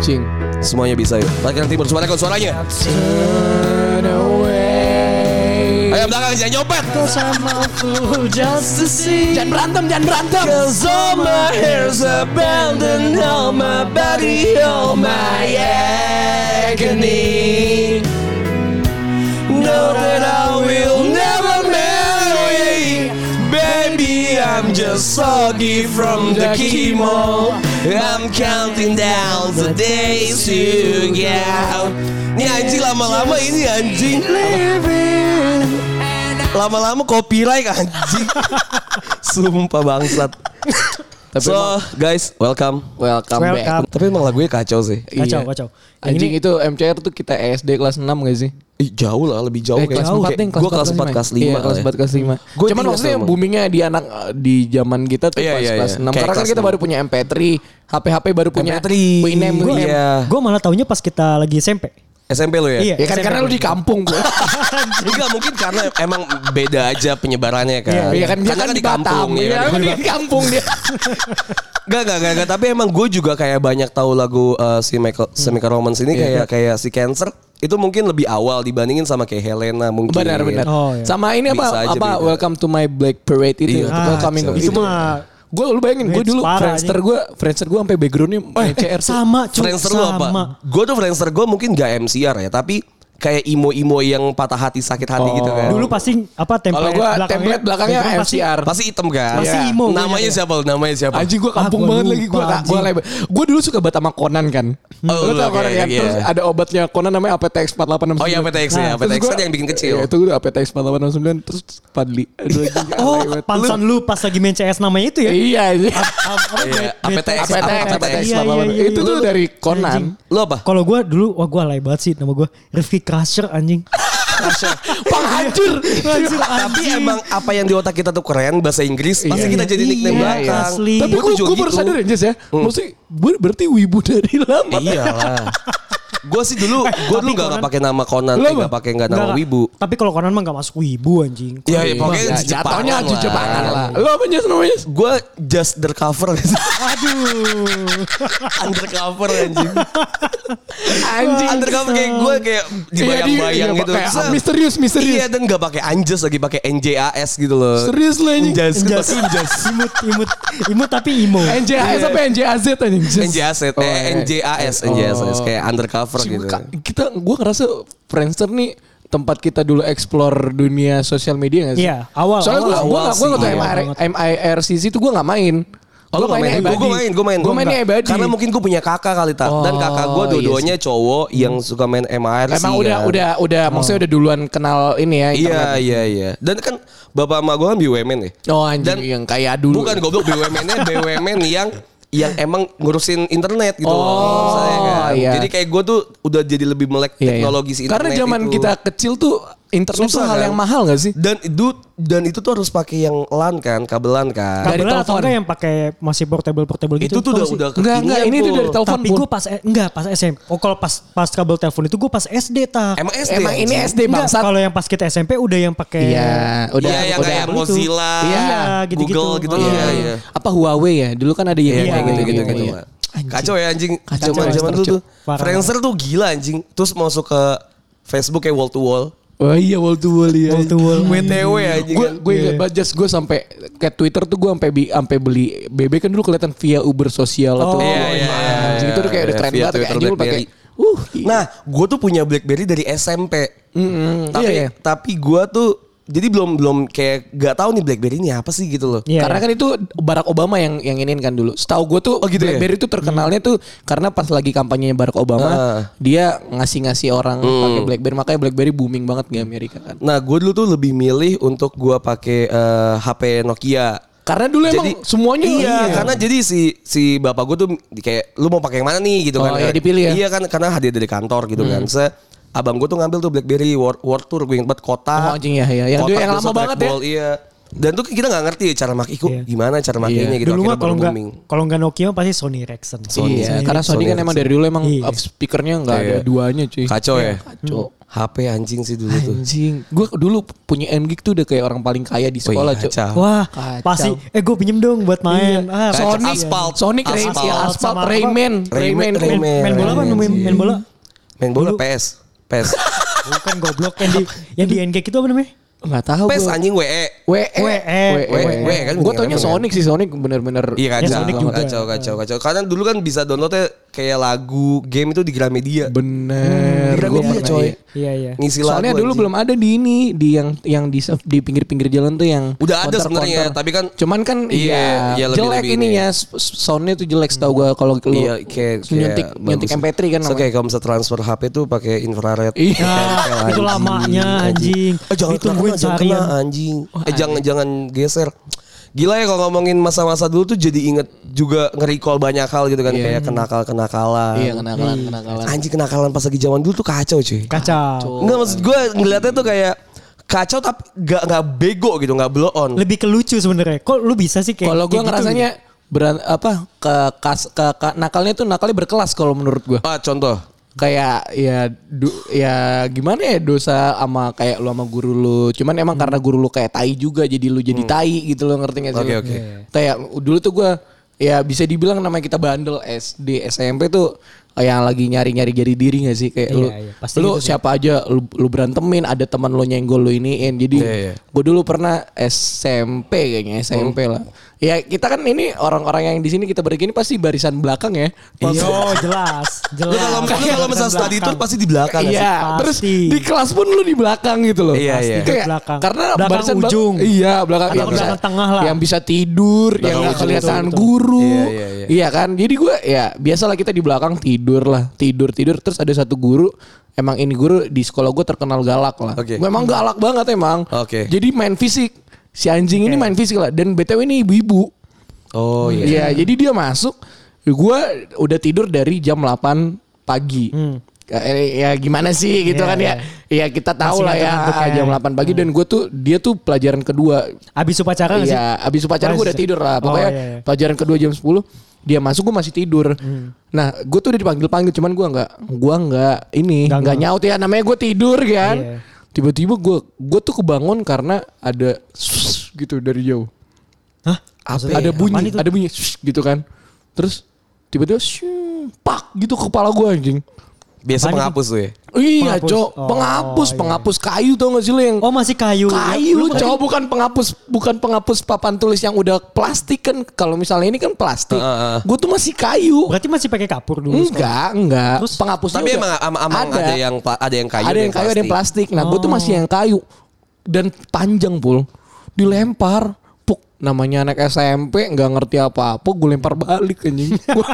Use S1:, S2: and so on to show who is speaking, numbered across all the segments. S1: Cing.
S2: Semuanya bisa yuk. Laki Timur suarakan suaranya.
S1: Turn away.
S2: Ayo belakang jangan nyopet.
S1: Jangan berantem, jangan berantem.
S2: Cause all my hair's abandoned, all my body, all my agony. Know that I will never marry. Baby, I'm just soggy from the chemo. I'm counting down the days you get. Ini anjing lama-lama ini anjing. Lama-lama copyright anjing. Sumpah bangsat.
S1: Tapi
S2: so
S1: emang-
S2: guys, welcome.
S1: Welcome, back.
S3: Welcome.
S2: Tapi emang lagunya kacau sih.
S1: Iya.
S3: Kacau, kacau.
S1: Anjing itu MCR tuh kita SD kelas 6 gak sih?
S2: Ih, jauh lah, lebih jauh.
S1: Eh, kelas
S2: Jauh.
S1: 4 deh, kelas
S2: Gua kelas ya. 4 kelas 5.
S1: Iya, kelas 4 kelas 5.
S2: Gua
S1: Cuman
S2: ingat
S1: maksudnya
S2: emang.
S1: boomingnya di anak eh, di zaman kita tuh
S2: Iya,
S1: pas
S2: iya,
S1: kelas
S2: iya.
S1: 6.
S2: Kayak
S1: Karena kan
S2: kelas
S1: kita baru
S2: 6.
S1: punya MP3, HP-HP baru punya
S2: MP3.
S1: Winem,
S2: Gua-
S1: Winem.
S2: Iya.
S3: Gue malah taunya pas kita lagi SMP.
S2: SMP lu ya?
S3: Iya.
S1: Ya kan karena lu di kampung gua.
S2: Enggak mungkin karena emang beda aja penyebarannya kan.
S3: Iya,
S1: Iya kan dia
S2: Karena
S1: kan di Batam,
S2: kampung,
S1: ya
S2: iya
S1: kan dia di kampung dia.
S2: Enggak, enggak, enggak, enggak. Tapi emang gue juga kayak banyak tahu lagu eh, si Michael,
S1: Hmm.
S2: si Michael Romans
S1: Iya,
S2: ini kayak kayak si Cancer itu mungkin lebih awal dibandingin sama kayak Helena mungkin.
S1: Benar benar.
S3: Oh, iya.
S1: Sama ini apa
S2: Bisa aja
S1: apa
S2: beda.
S1: Welcome to my Black Parade itu.
S2: Iya.
S1: ya, welcoming
S2: Ah,
S3: Itu mah
S1: Gue lu bayangin gue
S3: Hits
S1: dulu
S3: parah,
S1: Friendster
S3: anjing.
S1: gue Friendster gue sampai backgroundnya MCR
S2: Eh,
S1: tuh.
S3: eh, sama cuy,
S2: Friendster lu apa?
S3: sama.
S2: Gue tuh Friendster gue mungkin gak MCR ya, tapi kayak imo-imo yang patah hati sakit hati
S1: Oh.
S2: gitu kan.
S3: Dulu pasti apa
S1: Ya.
S3: template
S1: Kalau gua template belakangnya
S3: background pasti-
S1: MCR.
S2: pasti hitam kan.
S3: Pasti
S2: Iya.
S3: imo gua
S2: Namanya
S3: nyadar.
S2: siapa? lu? Namanya siapa?
S1: Anjing gue kampung
S3: Ah, gua
S1: banget lagi gue
S3: lupa,
S1: gue
S3: anjing.
S1: label. Gue dulu suka banget sama Conan kan.
S2: Oh,
S1: Lu
S2: lu,
S1: tau
S2: oke,
S1: Conan kan?
S2: iya.
S1: Terus ada obatnya Conan namanya APTX 4869.
S2: Oh iya PTX ya,
S3: Nah,
S1: Terus
S2: PTX
S1: gua-
S2: kan yang bikin kecil.
S1: Iya, itu gue APTX 4869 terus Padli. Aduh, anjing,
S3: Oh,
S1: alay banget.
S3: pansan lu pas lagi main CS namanya itu ya.
S1: Iya, anjing.
S2: Iya,
S3: APTX,
S2: APTX, APTX.
S3: Iya, iya, iya,
S1: Itu
S3: iya.
S1: tuh dari
S3: Anjing.
S1: Conan.
S2: Lu apa?
S3: Kalau gue dulu, wah gue alay banget sih nama gue. Rifki Crusher anjing.
S1: Penghancur.
S3: Anjir,
S2: Tapi
S3: anjing.
S2: emang apa yang di otak kita tuh keren bahasa Inggris, pasti
S3: Iya.
S2: kita jadi nickname
S3: Iya,
S2: belakang.
S3: asli.
S1: Tapi
S2: Gua
S1: gue
S2: tuh juga
S1: gue baru
S2: gitu.
S1: sadar ya Jess ya. Maksudnya gue berarti wibu dari lama.
S2: Iya lah. Gue sih dulu, gue dulu gak,
S3: Conan-
S2: pakai nama Conan,
S1: Lu
S2: eh,
S1: apa?
S2: gak pakai gak nama
S3: Nggak,
S2: Wibu.
S3: Tapi kalau Conan mah gak masuk wibu anjing.
S2: Iya, iya, pokoknya
S1: Ya,
S2: Jepangan
S1: jatuhnya aja
S2: lah.
S1: Jepangan lah. Lo apa Jess namanya? Jess?
S2: Gue just undercover, gitu.
S3: Aduh.
S2: undercover anjing.
S1: Anjing.
S2: undercover kayak gue kayak
S1: Iya,
S2: dibayang-bayang
S1: di- iya,
S2: gitu.
S1: kayak
S2: Set.
S1: misterius, misterius.
S2: Iya dan gak pakai anjas lagi pakai NJAS gitu loh.
S1: Serius lo anjing.
S2: Anjas, kan
S3: Injas,
S2: pasti
S3: injas. Imut, imut. Imut tapi imo.
S1: NJAS apa NJAZ anjing? Jess.
S2: NJAS, eh,
S1: Oh, iya.
S2: NJAS, NJAS, kayak undercover gitu.
S1: Ka- Kita, gue ngerasa Friendster nih tempat kita dulu explore dunia sosial media gak sih?
S3: Iya, awal,
S1: Soalnya gue
S3: awal, Iya,
S1: gue
S2: awal
S1: gak gue
S2: sih.
S1: gak tau
S3: Awal
S1: MIR
S3: banget.
S1: MIRCC itu gue gak main.
S2: Oh, lu gak main, gue main, gue main,
S1: Gue mainnya
S2: Enggak.
S1: Ebadi.
S2: Karena mungkin gue punya kakak kali tak, dan kakak gue
S1: Oh,
S2: dua-duanya cowok yang suka main MIRC.
S1: Emang
S2: kan.
S1: udah udah udah maksudnya udah duluan kenal ini ya.
S2: Iya
S1: internet.
S2: iya iya. Dan kan bapak emak gue kan BUMN ya.
S1: Oh anjing
S2: Dan-
S1: yang kayak dulu. Iya,
S2: Bukan goblok BUMN-nya BUMN yang yang emang ngurusin internet gitu
S1: Oh,
S2: Saya kan.
S1: iya.
S2: Jadi kayak gue tuh udah jadi lebih melek
S1: Iya, iya.
S2: teknologi si
S1: Karena
S2: internet
S1: zaman
S2: itu.
S1: kita kecil tuh internet
S2: Susah,
S1: tuh hal
S2: kan?
S1: yang mahal gak sih?
S2: dan itu dan itu tuh harus pakai yang LAN kan, kabelan kan.
S1: Dari
S3: Kabelan atau
S1: telepon.
S3: enggak yang pakai masih portable portable
S2: itu
S3: gitu.
S2: tuh
S3: tau
S2: udah
S3: sih?
S2: udah
S1: Enggak, enggak,
S2: kekinian
S1: ini tuh dari telepon.
S3: Tapi
S1: pun.
S3: gue pas eh, enggak pas SM. Oh kalau pas pas kabel telepon itu gue pas SD tak.
S2: Emang SD.
S1: Emang ini
S2: anjing?
S1: SD
S3: Enggak,
S1: bangsat.
S3: kalau yang pas kita SMP udah yang pakai
S1: Iya, udah
S2: Iya, yang
S1: udah. gitu.
S2: kayak
S3: Itu.
S2: Mozilla,
S3: Iya, gitu-gitu.
S2: Google gitu.
S3: Oh.
S2: Iya, iya.
S1: Apa Huawei ya? Dulu kan ada
S2: Iya
S1: yang
S2: kayak
S3: Iya,
S2: gitu gitu
S3: iya,
S2: gitu.
S3: iya.
S2: Pak. Kacau ya anjing.
S1: Kacau,
S2: Zaman zaman
S1: kacau.
S2: dulu tuh.
S3: Parah.
S2: Friendster tuh gila anjing. Terus masuk ke Facebook kayak wall to wall.
S1: Oh iya wall to wall ya.
S3: Wall to wall. Iya.
S2: WTW anjing.
S1: Gue
S2: kan.
S1: gue ingat banget Jas, gue sampai ke Twitter tuh gue sampai bi- sampai beli BB kan dulu kelihatan via Uber sosial atau
S3: Oh,
S2: iya, iya, iya,
S1: Anjing,
S2: iya,
S1: itu udah kayak udah
S2: iya,
S1: tren
S2: via
S1: banget kayak
S2: Twitter
S1: anjing lu pakai.
S2: BlackBerry.
S1: Uh, nah,
S2: Nah, gue tuh punya BlackBerry dari SMP. Tapi
S1: Iya, iya.
S2: tapi gue tuh jadi belum belum kayak gak tahu nih BlackBerry ini apa sih gitu loh.
S3: Iya,
S1: karena
S3: iya.
S1: kan itu Barack Obama yang yang iniin kan dulu. Setahu gue tuh
S2: gitu ya?
S1: BlackBerry itu terkenalnya tuh karena pas lagi kampanyenya Barack Obama,
S2: Ah. Hmm.
S1: dia ngasih-ngasih orang pakai BlackBerry makanya BlackBerry booming banget di Amerika kan.
S2: Nah, gue dulu tuh lebih milih untuk gue pakai eh, HP Nokia.
S1: Karena dulu emang semuanya
S2: iya, karena jadi si si bapak gue tuh kayak lu mau pakai yang mana nih gitu
S1: Oh,
S2: kan
S1: iya, dipilih ya. Hmm.
S2: iya kan karena hadiah dari kantor gitu kan se abang gue tuh ngambil tuh BlackBerry World, World Tour gue inget banget kotak
S1: Oh, anjing, iya, iya. Yang dulu yang
S2: terus
S1: lama banget ya.
S2: Blackball, iya Dan tuh kita nggak ngerti ya cara make iku
S3: Iya.
S2: gimana cara makainya gitu.
S3: Dulu
S2: Akhirnya
S3: mah kalau
S2: baru
S3: nggak
S2: booming.
S3: kalau nggak Nokia pasti Sony Ericsson.
S2: Sony.
S1: iya, karena Sony,
S2: Sony
S1: kan emang dari dulu emang
S3: Iya.
S1: up speakernya nggak ada
S2: Iya.
S1: duanya cuy.
S2: Kacau ya.
S1: Kacau.
S2: HP anjing sih dulu tuh.
S1: Anjing, gue dulu punya MGIG tuh udah kayak orang paling kaya di sekolah cuy.
S2: Kacau. Iya.
S3: Wah,
S1: Kacau.
S3: pasti eh gue pinjem dong buat main. Ah,
S2: Kacau.
S3: Sony.
S2: Aspal.
S1: Sonic, Ray-
S2: Aspal.
S1: Aspal,
S3: Sama apa?
S1: Rayman,
S2: Rayman,
S1: Rayman,
S3: Main,
S1: Rayman.
S2: Rayman,
S3: main bola apa
S2: Rayman,
S3: main, main bola?
S2: Main bola
S3: Dulu-
S2: PS. PS.
S3: Bukan goblok yang di yang di NG itu apa namanya?
S1: Nggak tahu E,
S2: PS
S1: gue.
S2: anjing E. WE.
S1: WE,
S3: WE,
S2: WE, WE, kan
S1: Gue
S2: bener,
S1: taunya
S2: bener.
S1: Sonic sih Sonic bener-bener.
S2: Iya
S3: Ya,
S2: kacau,
S3: Sonic juga.
S2: kacau, kacau, kacau. Karena dulu kan bisa downloadnya kayak lagu game itu di Gramedia.
S1: Bener.
S2: Di
S1: Gua
S2: Gramedia
S1: pernah,
S2: coy.
S1: iya.
S3: Iya iya.
S2: Ngisi lagu.
S1: Soalnya dulu
S2: anjing.
S1: belum ada di ini di yang yang di di pinggir-pinggir jalan tuh yang
S2: Udah ada sebenarnya,
S1: konter.
S2: tapi kan
S1: cuman kan
S2: Iya,
S1: iya,
S2: iya, lebih-
S1: jelek
S2: lebih
S1: ini
S2: ini.
S1: ya s- s- soundnya tuh jelek setahu gua kalau lu
S2: Iya, kayak, kayak
S1: nyuntik nyuntik
S2: bagus.
S1: MP3 kan
S2: So, kayak kalau bisa transfer HP tuh pakai
S1: Iya.
S2: infrared. Tempel,
S3: Ah, itu
S2: anjing.
S3: lamanya anjing.
S2: Eh, jangan
S3: Ditungguin
S2: Ditungguin kena, jangan kena,
S3: seharian.
S2: anjing. Eh jangan jangan geser. Gila ya kalau ngomongin masa-masa dulu tuh jadi inget juga nge-recall banyak hal gitu kan kayak kenakal-kenakalan.
S1: iya kenakalan kenakalan
S2: Anjing kenakalan pas lagi zaman dulu tuh kacau cuy.
S3: Kacau.
S2: Enggak maksud gue ngeliatnya tuh kayak kacau tapi nggak nggak bego gitu nggak blow on.
S3: Lebih ke lucu sebenarnya. Kok lu bisa sih kayak
S1: kalau
S3: kayak
S1: gua
S3: gitu
S1: ngerasanya beran- apa ke, kas, ke, ke- nakalnya tuh nakalnya berkelas kalau menurut gua
S2: Ah contoh.
S1: kayak ya du- ya gimana ya dosa sama kayak lu sama guru lu cuman emang
S3: Hmm.
S1: karena guru lu kayak tai juga jadi lu jadi tai gitu lo ngerti gak sih
S2: Oke,
S1: lu?
S2: oke.
S1: kayak dulu tuh gua ya bisa dibilang namanya kita bandel SD SMP tuh yang lagi nyari-nyari jari diri gak sih kayak
S3: Iya,
S1: lu
S3: iya, pasti
S1: lu
S3: gitu sih.
S1: siapa aja lu, lu berantemin ada teman lu nyenggol lu iniin jadi
S2: Iya, iya.
S1: gue dulu pernah SMP kayaknya SMP
S3: Hmm.
S1: lah ya kita kan ini orang-orang yang di sini kita begini pasti barisan belakang ya
S3: Iya, jelas, kan jelas.
S2: Lu Ya, kalau lu kalau misal study tour pasti di belakang gak sih?
S1: Iya,
S3: Pasti.
S1: terus di kelas pun lu di belakang gitu loh.
S2: Iya,
S1: Pasti.
S2: iya.
S1: Kayak
S3: Belakang.
S1: Karena
S3: Belakang
S1: barisan belak-
S3: ujung.
S1: Iya, belakang
S3: Atau belakang tengah lah.
S1: Yang bisa tidur, yang
S2: Belakang
S1: nggak
S2: ujung,
S1: kelihatan
S3: betul, betul.
S1: guru.
S2: Iya, iya, iya.
S1: kan? Jadi gue ya biasalah kita di belakang tidur lah, tidur tidur terus ada satu guru Emang ini guru di sekolah gue terkenal galak lah.
S2: Oke.
S1: Gue emang galak banget emang.
S2: Oke.
S1: Jadi main fisik. Si anjing ini main fisik lah. Dan BTW ini ibu-ibu.
S2: Oh iya.
S1: Iya, jadi dia masuk. Gue udah tidur dari jam 8 pagi. Eh, Ya gimana sih gitu
S3: Hmm. Iya,
S1: kan ya. Ya kita tahu
S3: Masih
S1: lah ya
S3: ngantuk-ngantuk ya.
S1: jam 8 pagi dan gue tuh dia tuh pelajaran kedua.
S3: Abis upacara nggak sih?
S1: Iya, abis upacara gue udah tidur lah.
S3: Ah, Oh,
S1: Pokoknya
S3: iya, Hmm. iya.
S1: pelajaran kedua jam 10 dia masuk gue masih tidur. Nah, gue tuh udah dipanggil-panggil cuman gue nggak gua nggak ini
S3: Nggak
S1: nggak
S3: nge-
S1: nyaut ya namanya gue tidur kan.
S3: Iya.
S1: Tiba-tiba gue gue tuh kebangun karena ada gitu dari jauh
S3: Hah?
S2: Apa?
S1: ada bunyi,
S3: apaan itu?
S1: ada bunyi shh, gitu kan. Terus tiba-tiba shh, pak gitu ke kepala gue anjing.
S2: Biasa
S3: Apaan itu?
S2: penghapus tuh ya.
S1: Iya,
S3: Penghapus.
S1: Cok.
S3: Oh,
S1: Penghapus,
S3: iya.
S1: penghapus kayu tau gak sih lo yang
S3: Oh masih kayu.
S1: kayu,
S3: Lu-
S1: Cok, bukan penghapus bukan penghapus papan tulis yang udah plastik kan. Kalau misalnya ini kan plastik.
S2: Heeh, heeh.
S1: Gue tuh masih kayu.
S3: Berarti masih pakai kapur
S1: Hmm.
S3: dulu. sekolah.
S1: Enggak, enggak.
S3: Terus?
S1: penghapusnya
S2: Tapi
S1: udah
S2: emang ama ama ada. yang pla- ada yang kayu
S1: ada yang kayu, ada yang plastik. Nah, gue tuh masih yang kayu dan panjang pul dilempar. Puk, namanya anak SMP nggak ngerti apa-apa, gue lempar balik anjing. Gue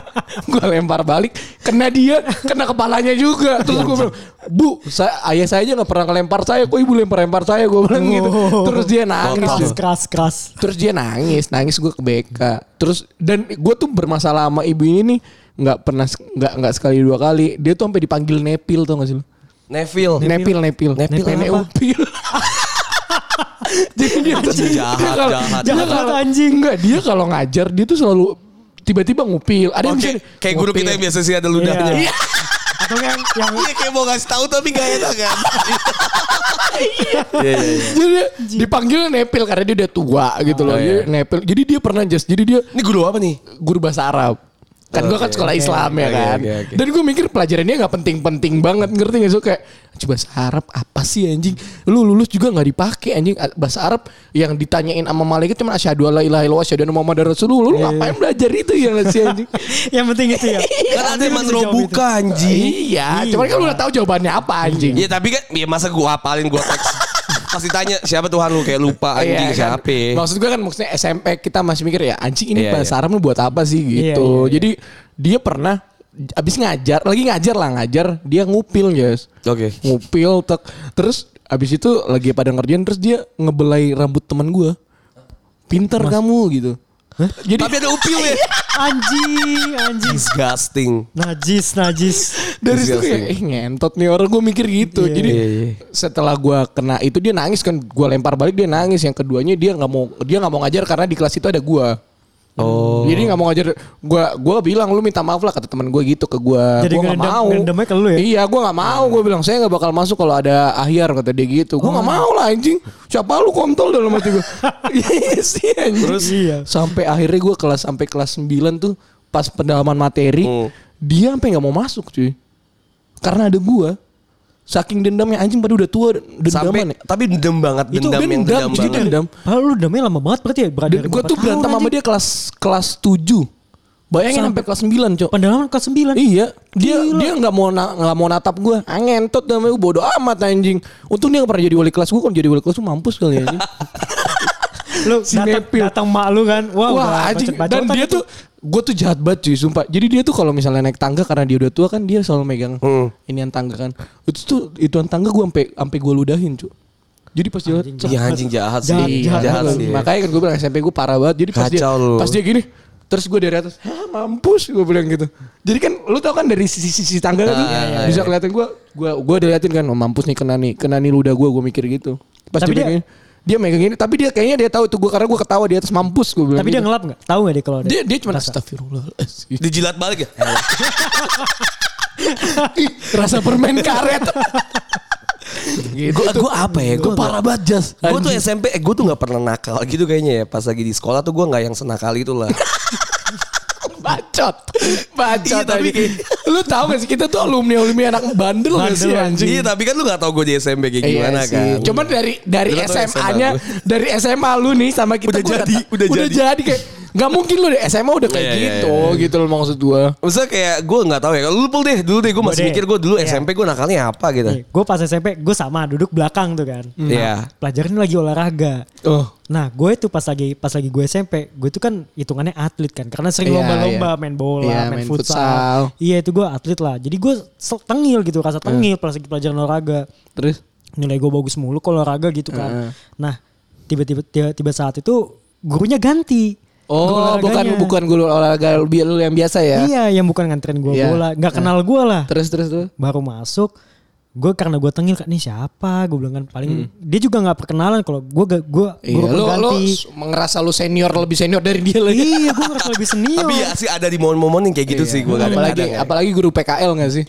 S1: gue lempar balik, kena dia, kena kepalanya juga. Terus gue bilang, "Bu, saya, ayah saya aja nggak pernah ngelempar saya, kok ibu lempar-lempar saya?" Gue bilang gitu. Terus dia nangis.
S3: Keras, keras, keras.
S1: Terus dia nangis, nangis gue ke BK. Terus dan gue tuh bermasalah sama ibu ini nih nggak pernah nggak nggak sekali dua kali. Dia tuh sampai dipanggil Nepil tau gak sih? lu?
S2: Neville.
S1: Nepil, nepil,
S2: Nepil
S1: nenek
S2: apa?
S1: upil. Jadi dia tuh
S2: Anjing, jahat,
S1: dia kalau-
S2: jahat.
S1: dia
S3: Jahat
S1: kalau-
S3: banget, anjing.
S1: Enggak, dia kalau ngajar dia tuh selalu tiba-tiba ngupil. Ada yang
S2: Oke,
S1: bisa-
S2: kayak guru
S1: ngupil.
S2: kita yang biasa sih ada ludahnya.
S3: Iya. Atau yang yang
S2: Iya kayak mau ngasih tahu tapi gak enak kan. Iya iya. iya.
S1: Jadi dia dipanggil nepil karena dia udah tua gitu
S2: Oh,
S1: loh. Jadi nepil. Jadi dia pernah jas. Jadi dia
S2: Ini guru apa nih?
S1: guru bahasa Arab. Kan gue kan sekolah Islam ya
S2: oke,
S1: kan.
S2: oke, oke.
S1: Dan gue mikir pelajarannya nggak penting-penting banget ngerti gak sih kayak "Anjing, bahasa Arab apa sih anjing? Lu lulus juga nggak dipakai anjing A- bahasa Arab yang ditanyain sama malaikat cuma asyhadu alla ilaha illallah asyhadu anna muhammadar rasulullah. Lu
S2: Iya.
S1: ngapain belajar itu ya nggak sih anjing?
S3: yang penting itu ya.
S2: Kan ada
S3: Anjing lu bisa
S2: manro
S3: jawab itu.
S2: buka anjing.
S1: iya, cuman kan lu udah tahu jawabannya apa anjing.
S2: Iya tapi kan ya masa gua hafalin gua teks. Pasti tanya siapa Tuhan lu kayak lupa anjing
S1: Iya, kan?
S2: siapa.
S1: Maksud gue kan maksudnya SMP kita masih mikir ya anjing ini
S2: Iya,
S1: bahasa
S2: iya.
S1: Arab lu buat apa sih gitu.
S3: Iya, iya, iya.
S1: Jadi dia pernah abis ngajar, lagi ngajar lah ngajar, dia ngupil guys.
S2: Oke.
S1: Ngupil tek. Terus abis itu lagi pada ngerjain terus dia ngebelai rambut teman gue. Pinter kamu gitu. Jadi
S2: Tapi ada upil ya.
S3: Anjing, anjing.
S2: Disgusting.
S3: Najis, najis.
S1: Dari situ kayak
S2: Disgusting.
S1: "Ih, ngentot nih orang gue mikir gitu. Jadi
S2: Iya, iya.
S1: setelah gue kena itu dia nangis kan gue lempar balik dia nangis. Yang keduanya dia nggak mau dia nggak mau ngajar karena di kelas itu ada gue.
S2: Oh.
S1: Jadi nggak mau ngajar. Gua gua bilang lu minta maaf lah kata teman gue gitu ke gue.
S3: Jadi
S1: Gue nggak
S3: ngerendam-
S1: mau.
S3: ngerendamnya ke lu ya?
S1: Iya gue nggak mau. Gue bilang saya nggak bakal masuk kalau ada ahyar kata dia gitu. Gue
S3: Oh.
S1: nggak mau lah anjing. Siapa lu kontol dalam hati gue. Iya sih anjing.
S3: Terus? Iya.
S1: sampai akhirnya gue kelas sampai kelas 9 tuh pas pendalaman materi
S2: Hmm.
S1: dia sampai nggak mau masuk cuy. Karena ada gue. Saking dendamnya anjing pada udah tua
S2: Sampai
S1: dendaman ya.
S2: tapi dendam banget
S1: Itu
S2: dendam
S1: dendam,
S2: yang dendam
S1: jadi
S2: banget. Iya,
S1: dendam.
S3: Padahal lu damai lama banget berarti ya berada
S1: Dan gue tuh berantem sama dia kelas kelas 7. Bayangin sampai
S3: Sampai-
S1: kelas 9, Cok.
S3: Pendalaman kelas 9.
S1: Iya, dia
S3: Gila.
S1: dia nggak mau na- nggak mau natap gue. Angentot namanya gue bodoh amat anjing. Untung dia nggak pernah jadi wali kelas gue. Kalau jadi wali kelas tuh mampus kali anjing.
S3: Lu
S1: Si
S3: datang,
S1: Nepil.
S3: datang mak lu kan. Wah, udah
S1: Wah anjing.
S3: bacot-bacotan
S1: Dan dia
S3: itu.
S1: tuh gue tuh jahat banget cuy, sumpah. Jadi dia tuh kalau misalnya naik tangga karena dia udah tua kan dia selalu megang
S2: Hmm.
S1: inian tangga kan. Itu tuh ituan tangga gue sampai sampai gue ludahin cuy. Jadi pas dia
S2: Iya anjing jahat sih.
S3: Jahat,
S2: Jahat,
S3: jahat
S1: Makanya-
S2: sih.
S1: Makanya kan gue bilang SMP gue parah banget. Jadi pas
S2: Kacau lu.
S1: dia pas dia gini, terus gue dari atas, "Hah, mampus gue bilang gitu. Jadi kan lu tau kan dari sisi-sisi tangga tuh
S2: iya, iya,
S1: bisa kelihatan gue gue gue diliatin kan, oh, mampus nih kena nih, kena nih ludah gue, gue mikir gitu. Pas
S3: Tapi
S1: dia, begini,
S3: dia-
S1: dia megang ini, tapi dia kayaknya dia tahu itu gue karena gue ketawa di atas mampus gue bilang.
S3: Tapi dia
S1: gitu.
S3: ngelap gak? Tahu gak dia kalau ada?
S1: dia dia cuma
S3: rasa?
S1: astagfirullahaladzim.
S2: Dijilat balik ya.
S1: Eh, Ih, Rasa permen karet. gitu.
S2: Gue gue apa ya?
S1: Gue
S2: Gue
S1: parah banget Jas.
S2: Gue tuh SMP, eh, gue tuh gak pernah nakal gitu kayaknya ya. Pas lagi di sekolah tuh gue gak yang senakal itu lah.
S1: bacot bacot
S2: Iya, tapi
S1: tapi lu tahu gak sih kita tuh alumni alumni anak bandel gak sih
S3: Bandel,
S1: anjing
S2: Iya tapi kan lu gak tau gue di SMP kayak
S1: Iya
S2: gimana
S1: sih.
S2: kan.
S1: Cuman dari dari
S2: Lu tau
S1: SMA-nya
S2: SMA gua.
S1: dari SMA lu nih sama kita
S2: Udah
S1: gua
S2: jadi,
S1: kata-
S2: udah
S1: udah
S2: jadi.
S1: jadi kayak nggak mungkin lu di SMA udah kayak
S2: Iya, iya,
S1: gitu
S2: iya,
S1: gitu loh maksud gua.
S2: Maksudnya kayak gue gak tahu ya. Kalau lu pul deh dulu deh. Gue
S3: Gua
S2: masih
S3: deh.
S2: mikir gue dulu
S3: Iya.
S2: SMP gue nakalnya apa gitu.
S1: Iya.
S3: Gue Eh, pas SMP, gue sama duduk belakang tuh kan.
S1: Hmm.
S3: Nah,
S2: Iya.
S3: Pelajaran lagi olahraga.
S1: Oh.
S3: Nah, gue itu pas lagi pas lagi gue SMP, gue itu kan hitungannya atlet kan, karena sering
S1: Iya,
S3: lomba-lomba
S1: iya.
S3: main bola,
S1: Iya,
S3: main,
S1: main
S3: futsal.
S1: futsal. Iya.
S3: Iya itu gue atlet lah. Jadi gue sel- tengil gitu, rasa tengil pas lagi pelajaran olahraga.
S1: Terus
S3: Nilai gue bagus mulu kalau olahraga gitu
S1: Iya.
S3: kan. Nah, tiba-tiba tiba, tiba saat itu gurunya ganti. Guru
S1: Oh, bukan
S3: olahraganya.
S1: bukan gua olahraga lu lu yang biasa ya.
S3: Iya, yang bukan nganterin gue
S1: Iya.
S3: bola, nggak kenal gue lah.
S1: Terus terus terus.
S3: Baru masuk, gue karena gue tengil kan, nih siapa? Gue bilang kan paling dia juga nggak perkenalan kalau gue gue
S1: Hmm. Iya,
S3: guru
S1: lu lu
S3: pengganti.
S1: s- ngerasa lu senior lebih senior dari dia lagi.
S3: Iya, gue ngerasa lebih senior.
S2: Tapi ya sih ada di momen-momen yang kayak gitu sih gue
S1: Iya. apalagi
S2: kadang-kadang. ya.
S1: apalagi guru PKL gak sih?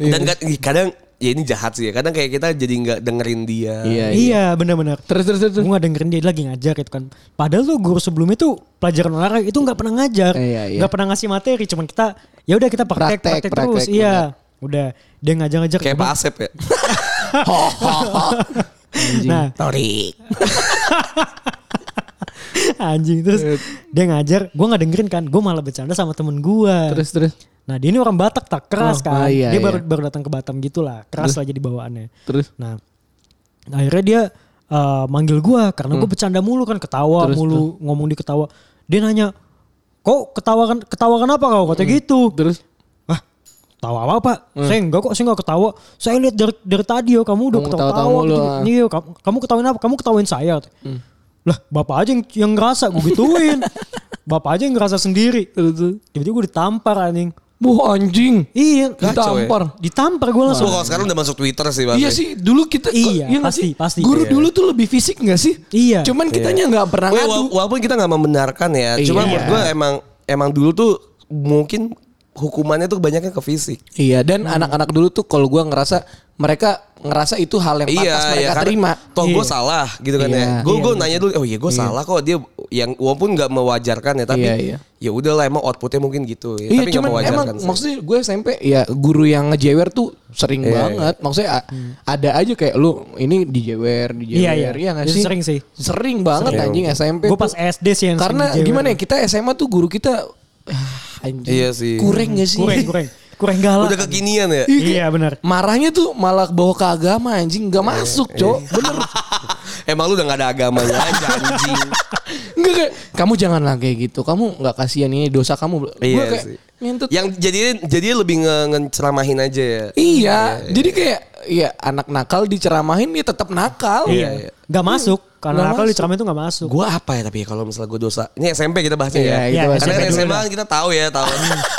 S1: Iya.
S2: Dan kad- ih, kadang ya ini jahat sih ya. Kadang kayak kita jadi gak dengerin dia.
S1: Iya, iya.
S3: Iya benar-benar.
S1: Terus terus terus.
S3: Gue gak dengerin dia lagi ngajar gitu kan. Padahal tuh guru sebelumnya tuh pelajaran olahraga itu nggak pernah ngajar,
S1: Iya, iya.
S3: nggak pernah ngasih materi. Cuman kita ya udah kita praktek,
S1: Praktek,
S3: praktek, terus.
S1: praktek,
S3: Iya, udah dia ngajar-ngajar.
S2: Kayak Pak Asep ya.
S1: Ho, ho, ho.
S3: Nah
S2: Torik.
S3: anjing terus
S1: Iya.
S3: dia ngajar, gue nggak dengerin kan. Gue malah bercanda sama temen gue.
S1: Terus terus
S3: Nah dia ini orang Batak tak keras
S1: Oh,
S3: kan.
S1: ah, iya,
S3: dia baru
S1: iya.
S3: baru datang ke Batam gitulah, keras lah jadi bawaannya.
S1: terus.
S3: Nah, akhirnya dia eh, manggil gua karena gua bercanda mulu kan ketawa
S1: Hmm. Terus,
S3: mulu ngomong di ketawa. Dia nanya, "Kok ketawa kan ketawa kenapa kau?" Kata
S1: Hmm.
S3: gitu.
S1: Terus
S3: "Ah, tawa apa, Pak? Saya enggak kok, saya enggak ketawa. Saya lihat dari dari tadi ya kamu
S1: Hmm.
S3: udah
S1: Kamu
S3: ketawa-tawa.
S1: ketawa-tawa
S3: gitu.
S1: mulu, ah." Hmm.
S3: Iya, kamu, kamu ketawain apa? Kamu ketawain saya. kata. Lah, Bapak aja yang yang ngerasa gua gituin. Bapak aja yang ngerasa sendiri.
S1: terus. terus.
S3: Tiba-tiba gua ditampar anjing.
S1: Wah anjing.
S3: Iya,
S2: Kacau ya.
S1: Ditampar.
S3: ditampar gua
S2: Terus
S3: langsung.
S2: kalau sekarang udah masuk Twitter sih Pak.
S1: Iya sih, dulu kita
S3: Iya,
S1: nggak
S3: pasti,
S1: sih?
S3: pasti.
S1: Guru
S3: Iya.
S1: dulu tuh lebih fisik nggak sih?
S3: Iya.
S1: Cuman kitanya nggak pernah
S2: Wah,
S1: ngadu.
S2: wala- walaupun kita nggak membenarkan ya,
S1: Iya.
S2: cuma menurut gue emang emang dulu tuh mungkin hukumannya tuh banyaknya ke fisik.
S1: Iya, dan anak-anak dulu tuh kalau gua ngerasa mereka ngerasa itu hal yang pantas mereka
S2: Iya, karena
S1: terima.
S2: Toh gue
S3: Iya.
S2: salah gitu kan
S1: Iya.
S2: ya. Gue gue nanya dulu, oh iya gue salah kok dia yang walaupun nggak mewajarkan ya, tapi
S1: Iya, iya.
S2: ya udahlah emang outputnya mungkin gitu.
S1: Iya,
S2: Ya. tapi nggak
S1: cuman emang
S2: mewajarkan. sih.
S1: maksudnya gue SMP ya guru yang ngejewer tuh
S2: Iya,
S1: sering banget. Maksudnya a- ada aja kayak lu ini dijewer, dijewer,
S3: Hmm. Iya, iya.
S1: nggak
S3: Itu
S1: sih?
S3: sering sih.
S1: Sering banget anjing SMP.
S3: Gue
S1: tuh.
S3: pas SD sih yang
S1: Karena
S3: sering dijewer.
S1: gimana ya kita SMA tuh guru kita ah, anjing.
S2: Iya sih.
S1: Kurang gak sih?
S3: kurang kurang kurang galak
S2: Udah kekinian ya.
S3: iya benar
S1: Marahnya tuh malah bawa ke agama anjing nggak
S2: Iya,
S1: masuk cok bener
S2: emang lu udah nggak ada agamanya aja anjing.
S1: nggak kayak kamu janganlah kayak gitu kamu nggak kasihan ini dosa kamu Gua
S2: Iya
S1: kayak,
S2: sih.
S1: "Ngentut."
S2: Yang jadi jadi lebih nge, ngeceramahin aja ya.
S1: iya jadi kayak ya anak nakal diceramahin dia tetap nakal
S2: Iya, iya.
S3: Gak masuk. Karena
S1: Nggak
S3: nakal di
S1: masuk.
S3: ceramah itu gak masuk.
S2: Gue apa ya tapi ya kalau misalnya gue dosa. Ini SMP kita bahasnya
S1: Iya,
S2: ya.
S1: kita bahas
S2: Karena
S1: SMP
S2: kan
S1: dulu
S2: SMA kan kita tahu ya, tahu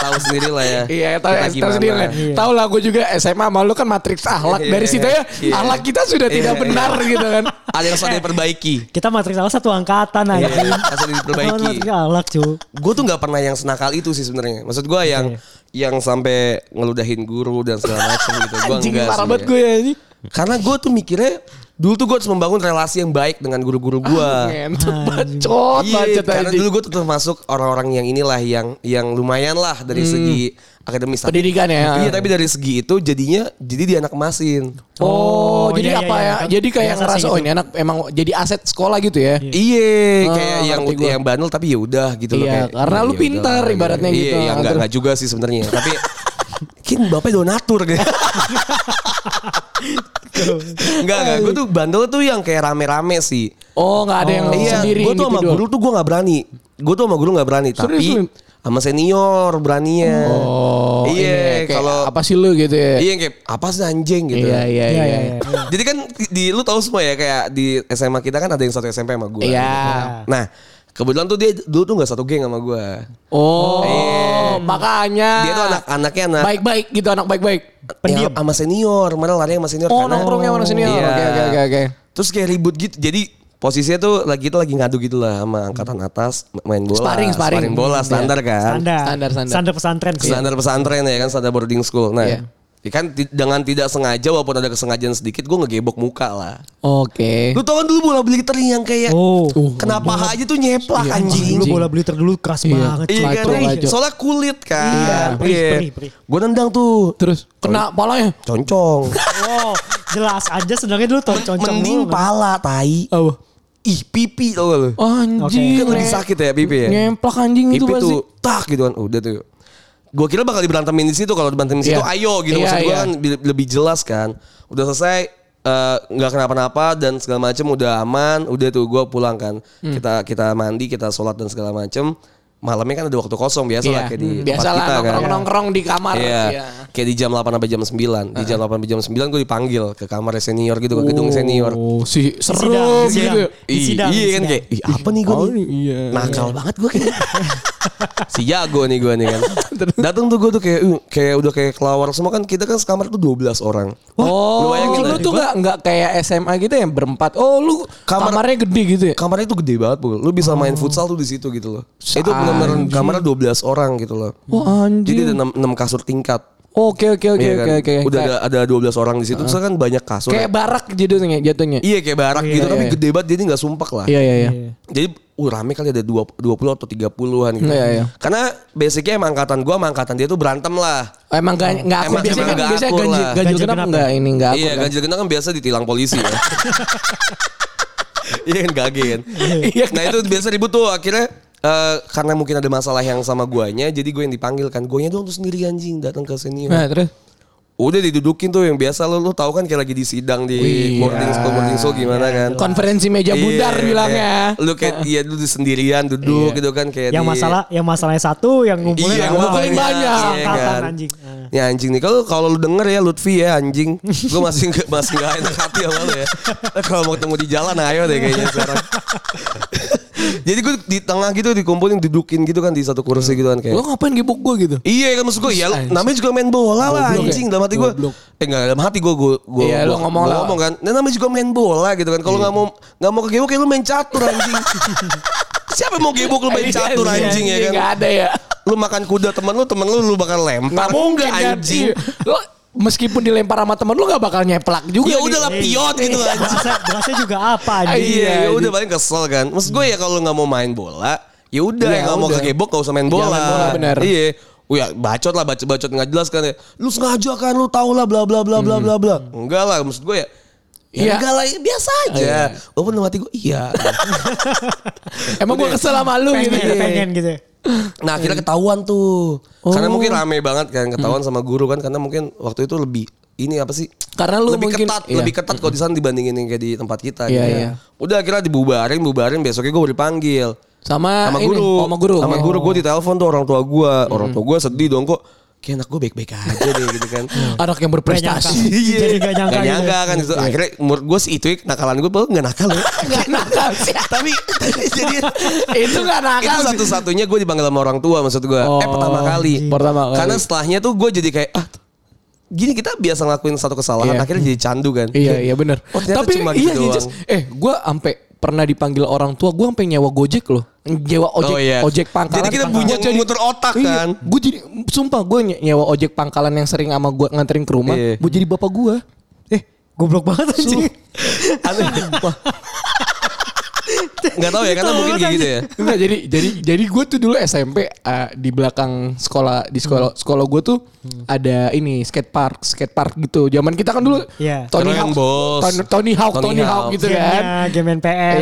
S2: tahu sendiri lah ya.
S1: Iya, tahu
S2: Kita
S1: tahu
S2: gimana.
S1: sendiri. lah. Tahu lah gue juga SMA sama lu kan matriks ahlak.
S2: Iya,
S1: Dari situ ya
S2: iya.
S1: ahlak kita sudah
S2: Iya,
S1: tidak
S2: iya.
S1: benar gitu kan.
S2: Ada yang sudah diperbaiki.
S3: Kita matriks salah satu angkatan aja.
S2: Iya, harus diperbaiki.
S3: Matriks alak cu.
S2: Gue tuh nggak pernah yang senakal itu sih sebenarnya. Maksud gue yang
S1: Iya.
S2: yang sampai ngeludahin guru dan segala macam gitu. Gue
S1: Anjing
S2: enggak
S1: parah
S2: sih.
S1: banget gue ya ini.
S2: Karena gue tuh mikirnya dulu tuh gue harus membangun relasi yang baik dengan guru-guru
S1: Ah,
S2: gue.
S1: Ngentot bacot
S2: Ah. Iya,
S1: bacot
S2: karena
S1: iya. anjing.
S2: dulu gue tuh termasuk orang-orang yang inilah yang yang lumayan lah dari
S1: Hmm.
S2: segi akademis. Tapi-
S1: Pendidikan ya.
S2: Iya, tapi dari segi itu jadinya jadi di anak masin.
S1: Oh,
S3: Oh,
S1: jadi
S3: iya,
S1: apa
S3: iya,
S1: ya?
S3: iya.
S1: Jadi kayak
S3: Biasa sih
S1: ngerasa oh
S3: gitu.
S1: ini anak emang jadi aset sekolah gitu ya.
S2: Iya,
S1: Ah,
S2: kayak yang
S1: ngerti gua.
S2: yang bandel tapi ya udah gitu loh.
S1: Iya,
S2: kayak,
S1: karena
S2: "Ya
S1: lu
S2: udah
S1: pintar
S2: lah,
S1: ibaratnya
S2: iya,
S1: gitu.
S2: Iya, enggak, enggak juga sih sebenarnya. tapi Kin bapaknya donatur deh. enggak, enggak. Gue tuh bandel tuh yang kayak rame-rame sih.
S1: Oh, nggak ada yang
S2: iya,
S1: sendiri gitu
S2: gue tuh sama
S1: individual.
S2: guru tuh gue nggak berani. Gue tuh sama guru nggak berani, tapi
S1: Serius, Lim?
S2: sama senior beraninya.
S1: Oh,
S2: iya.
S1: ini kayak
S2: Kalau
S1: apa sih lu gitu ya?
S2: iya kayak apa sih anjing gitu.
S1: Iya, iya,
S3: Iya,
S1: iya.
S3: iya, iya.
S2: Jadi kan di lu tahu semua ya kayak di SMA kita kan ada yang satu SMP sama gue.
S1: Iya.
S2: Nah kebetulan tuh dia dulu tuh nggak satu geng sama gue.
S1: Oh, makanya.
S2: Iya. Dia tuh anak-anaknya anak
S1: baik-baik gitu, anak baik-baik.
S2: pendiam sama senior, malah lari sama senior.
S1: Oh,
S2: karena-
S1: nongkrongnya mana senior.
S2: Iya.
S1: Oke, oke, oke, oke.
S2: Terus kayak ribut gitu. Jadi posisinya tuh lagi kita lagi ngadu gitu lah sama angkatan atas main bola.
S1: Sparring, sparring.
S2: bola
S1: Iya.
S2: standar kan.
S3: Standar.
S1: Standar, standar.
S3: pesantren. sih.
S2: Standar pesantren ya kan standar boarding school. Nah,
S1: Iya.
S2: ya kan ti- dengan tidak sengaja walaupun ada kesengajaan sedikit gue ngegebok muka lah.
S1: Oke.
S2: Lu tau kan dulu bola blitter yang kayak
S3: Oh.
S2: kenapa aja tuh nyeplak Uh, anjing.
S3: Dulu bola beliter dulu keras
S1: Iya.
S3: banget.
S2: Iya
S1: Lacok,
S2: kan,
S1: lacok.
S2: soalnya kulit kan.
S3: Iya, perih, perih, perih.
S2: Gue nendang tuh,
S1: Terus kena palanya.
S2: concong.
S3: Oh, jelas aja sebenarnya dulu tuh concong
S2: Mending
S3: mulu.
S2: pala, tai.
S1: Apa?
S2: Ih, pipi tau gak lu.
S3: Oh,
S1: Anjing.
S2: Kan
S3: iya.
S2: lebih
S1: Nek.
S2: sakit ya pipi ya.
S1: Ngemplak anjing
S2: Pipi
S1: itu pasti.
S2: tuh, tak gitu kan. Udah tuh. Gue kira bakal diberantemin di situ kalau diberantemin di situ
S1: Iya.
S2: ayo gitu
S1: Iya,
S2: maksud gue
S1: iya.
S2: kan bi- lebih jelas kan. Udah selesai eh, nggak kenapa-napa dan segala macem udah aman udah tuh gue pulang kan
S1: Hmm.
S2: kita kita mandi kita sholat dan segala macem malamnya kan ada waktu kosong biasa lah
S1: Iya.
S2: kayak di tempat
S1: Biasalah
S2: kita kan
S1: nongkrong-nongkrong di kamar.
S2: Iya.
S1: Iya.
S2: Kayak di jam 8 sampai jam 9. Di jam 8 sampai jam 9 gue dipanggil ke kamar senior gitu, ke gedung senior.
S1: Oh, si seru
S3: sidang, di sidang.
S1: gitu.
S3: Di
S2: Ih,
S3: sidang,
S2: iya
S3: di
S2: kan
S3: sidang.
S2: kayak Ih, apa nih gue
S1: Oh,
S2: nih?
S1: iya.
S2: Nakal banget gue kayak. si jago nih gue nih kan. Datang tuh gue tuh kayak "Uh, kayak udah kayak kelawar semua kan kita kan sekamar tuh 12 orang.
S1: Oh,
S2: Lu
S1: lu,
S2: bayangin lah.
S1: tuh gak, nggak kayak SMA gitu yang berempat. Oh, lu
S2: Kamar-
S1: kamarnya gede gitu ya?
S2: Kamarnya tuh gede banget, Bul. Lu bisa
S1: Oh.
S2: main futsal tuh di situ gitu loh. Itu benar-benar kamarnya 12 orang gitu loh.
S1: Wah, Oh,
S2: Jadi
S1: anjing.
S2: ada 6, kasur tingkat.
S1: Oke, oke, oke,
S2: Iya
S1: oke,
S2: kan?
S1: oke.
S2: Udah
S1: Kayak-
S2: ada ada 12 orang di situ. Terus kan banyak kasur.
S1: Kayak barak jadinya jatuhnya.
S2: Iya kayak barak gitu
S1: iya,
S2: tapi
S1: iya.
S2: gede banget jadi nggak sumpak lah.
S1: Iya, iya, iya.
S2: Jadi uh, rame kali ada dua- 20 atau 30-an gitu.
S1: Iya, iya.
S2: Karena basicnya emang angkatan gua sama angkatan dia tuh berantem lah.
S1: Oh, emang gak, nggak aku
S2: Iya. Emang-
S1: biasanya
S2: emang
S1: kan
S2: nggak
S1: biasanya
S2: akur
S1: ganjil,
S2: lah.
S1: ganjil
S3: Ganjil
S1: kenapa
S3: genap
S1: enggak ini enggak aku.
S2: iya, ganjil genap kan biasa ditilang polisi ya. Iya kan gagen. nah itu biasa ribut tuh akhirnya eh, karena mungkin ada masalah yang sama guanya jadi gue yang dipanggil kan guanya doang tuh sendiri anjing datang ke senior
S1: Nah, terus
S2: udah didudukin tuh yang biasa lo lo tahu kan kayak lagi di sidang di boarding school boarding school gimana kan
S1: konferensi meja bundar
S2: Iya,
S1: bilangnya.
S2: kayak Lu kayak iya lu di sendirian duduk gitu kan kayak
S3: Yang
S2: di-
S3: masalah, yang masalahnya satu, yang ngumpulin
S2: Iya,
S3: yang
S2: ngumpulin
S3: lain.
S2: banyak. Iya,
S3: Angkatan
S2: kan.
S3: anjing. Ah.
S2: Ya anjing nih kalau kalau lu denger ya Lutfi ya anjing. Gue masih nggak masih nggak enak hati sama lu ya. Kalau mau ketemu di jalan ayo deh kayaknya sekarang. Jadi gue di tengah gitu dikumpulin dudukin gitu kan di satu kursi gitu kan kayak.
S1: Hmm. Lu ngapain gebuk gua gitu?
S2: Iya kan maksud gue ya lu- namanya juga main bola lah
S1: Goblok ya?
S2: anjing dalam hati gue.
S1: Goblok.
S2: Eh enggak dalam hati gue gue gue
S1: Iya, lu ngomong lah. Iya.
S2: ngomong kan. Nah, namanya juga main bola gitu kan. Kalau nggak mau nggak mau kegewok ya lu main catur anjing. Siapa mau gebuk lu
S1: Iya,
S2: main catur anjing ya kan?
S1: Enggak ada ya.
S2: Lu makan kuda temen lu, temen lu lu bakal
S1: Enggak
S2: lempar.
S1: mungkin
S2: Enggak,
S1: kan.
S2: anjing.
S1: Iya. Lu meskipun dilempar sama temen lu gak bakal nyeplak juga.
S2: Ya
S1: nih.
S2: udahlah piot gitu anjing.
S3: Iya. Berasa, berasa juga apa anjing.
S2: Iya, ya udah paling kesel kan. Maksud gue ya kalau lu nggak mau main bola, ya udah
S1: Iya,
S2: yang nggak mau
S1: udah.
S2: kegebok gak usah main bola.
S1: Jangan bola, bener.
S2: Iya. Wih, ya, bacot lah, bacot bacot nggak jelas kan ya. Lu sengaja kan, lu tau lah, bla bla bla bla bla bla. Enggak lah, maksud gue ya.
S1: Hmm. Iya.
S2: Ya, enggak lah, ya biasa aja.
S1: Iya.
S2: Walaupun dalam hati gue, iya.
S1: Emang gua kesel sama lu gitu.
S3: Pengen, pengen gitu.
S2: Nah akhirnya ketahuan tuh. Karena mungkin
S1: Oh.
S2: rame banget kan ketahuan
S1: Hmm.
S2: sama guru kan karena mungkin waktu itu lebih ini apa sih?
S1: Karena lu
S2: lebih
S1: mungkin-
S2: ketat,
S1: iya.
S2: lebih ketat kalau di sana dibandingin yang kayak di tempat kita.
S1: Iya,
S2: gitu.
S1: iya.
S2: Udah akhirnya dibubarin, bubarin besoknya gue dipanggil.
S1: Sama
S2: Sama
S1: ini,
S2: guru,
S1: oh, Hmm. sama guru.
S2: sama
S1: Oke.
S2: guru gue ditelepon tuh orang tua gue, orang tua gue sedih dong kok. kayak anak gue baik-baik aja deh gitu kan.
S1: Anak yang berprestasi.
S2: Iya.
S3: Jadi gak nyangka
S2: Gak
S3: gitu.
S2: nyangka kan
S1: Iya.
S2: itu. Akhirnya menurut gue sih itu nakalan gue bahwa gak nakal ya.
S1: Gak nakal sih.
S2: Tapi jadi
S1: Itu gak
S2: itu
S1: nakal sih.
S2: satu-satunya gue dipanggil sama orang tua maksud gue. eh
S1: Oh,
S2: pertama kali.
S1: pertama kali.
S2: Karena setelahnya tuh gue jadi kayak ah gini kita biasa ngelakuin satu kesalahan
S1: Iya.
S2: akhirnya jadi candu kan.
S1: Iya iya benar.
S2: Oh, ternyata
S1: Tapi
S2: cuma
S1: iya
S2: gitu
S1: iya,
S2: doang.
S1: Jas. eh gua ampe pernah dipanggil orang tua, gua ampe nyewa Gojek loh. Nyewa ojek
S2: Oh, iya.
S1: ojek pangkalan.
S2: Jadi kita
S1: Pangkalan.
S2: punya
S1: Gua jadi-
S2: muter otak,
S1: Iya,
S2: kan?
S1: Gua jadi sumpah gua nye- nyewa ojek pangkalan yang sering sama gua nganterin ke rumah,
S2: Iya.
S1: gua jadi bapak gua.
S3: Eh, goblok banget anjing.
S2: Aneh. Gak tau ya karena
S3: Tolong
S2: mungkin kayak gitu ya.
S1: Enggak jadi jadi jadi gue tuh dulu SMP eh, di belakang sekolah di sekolah
S2: Hmm.
S1: sekolah gue tuh ada ini skate park skate park gitu. Zaman kita kan dulu
S3: Iya.
S1: Tony Hawk
S2: Keren, Bos.
S1: Tony, Tony Hawk
S2: Tony
S1: Tony Hawk
S2: Hawk.
S1: gitu kan.
S3: Gamenya, game NPS.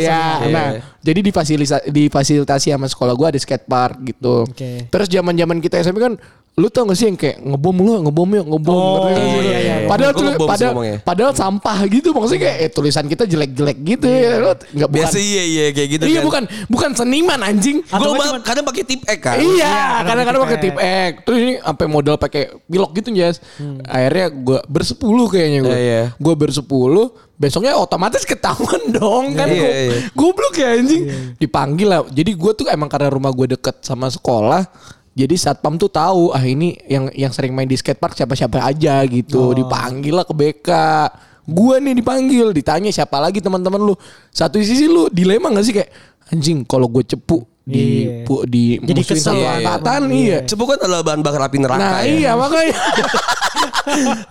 S1: Iya,
S2: Iya.
S1: nah, jadi di fasilitasi di fasilitasi sama sekolah gua ada skate park gitu.
S3: Oke.
S1: Terus zaman-zaman kita SMP kan lu tau gak sih yang kayak ngebom lu, ngebom yuk, ngebom. Ngerti gak
S3: Oh,
S1: sih lu?
S3: iya, iya, iya.
S1: Padahal
S2: Gua
S1: tuh
S2: ngebom sih
S1: padahal,
S2: ngomongnya.
S1: padahal sampah gitu maksudnya kayak eh, tulisan kita jelek-jelek gitu ya. Lu nggak bukan-
S2: Iya. Biasa iya iya kayak gitu
S1: Iya
S2: kan.
S1: bukan bukan seniman anjing.
S2: Gue
S3: Atau nggak cuman-
S2: kadang pakai tip X kan.
S1: Iya, kadang-kadang pakai
S3: tip
S1: tip X. Terus ini sampai modal pakai pilok gitu, Jas. Akhirnya gua bersepuluh kayaknya gua.
S2: Hmm. Iya, iya.
S1: Gua bersepuluh, besoknya otomatis ketahuan dong kan
S2: Iya,
S1: gua-
S2: iya.
S1: Goblok ya anjing. Dipanggil lah. Jadi gua tuh emang karena rumah gua deket sama sekolah, jadi satpam tuh tahu ah ini yang yang sering main di skatepark siapa-siapa aja gitu.
S2: Oh.
S1: Dipanggil lah ke BK. Gua nih dipanggil, ditanya siapa lagi teman-teman lu. Satu sisi lu dilema gak sih kayak anjing kalau gue cepu di
S3: Iya.
S1: pu- di
S3: Jadi
S1: musuhin
S3: kesel
S1: satu
S2: lah.
S1: angkatan iya.
S2: Cepu kan adalah bahan bakar api neraka
S1: Nah
S2: ya.
S1: iya makanya.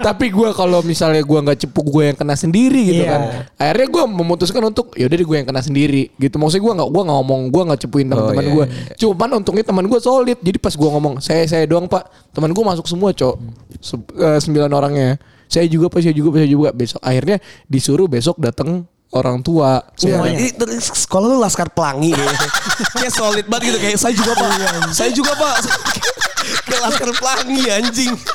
S1: Tapi gue kalau misalnya gue nggak cepu gue yang kena sendiri gitu
S3: Iya.
S1: kan. Akhirnya gue memutuskan untuk yaudah deh gue yang kena sendiri gitu. Maksudnya gue nggak gue nggak ngomong gue nggak cepuin teman-teman
S2: Oh, iya,
S1: gue. Cuman untungnya teman gue solid. Jadi pas gue ngomong saya saya doang pak. Teman gue masuk semua cok. Se- eh, sembilan orangnya. Saya juga pak saya juga pak saya juga besok. Akhirnya disuruh besok datang orang tua.
S2: Semuanya.
S1: Iya.
S2: Ini ter- sekolah lu laskar pelangi kayaknya. kayak solid banget gitu kayak saya juga pak,
S1: Iya,
S2: saya juga pak. kayak laskar pelangi anjing.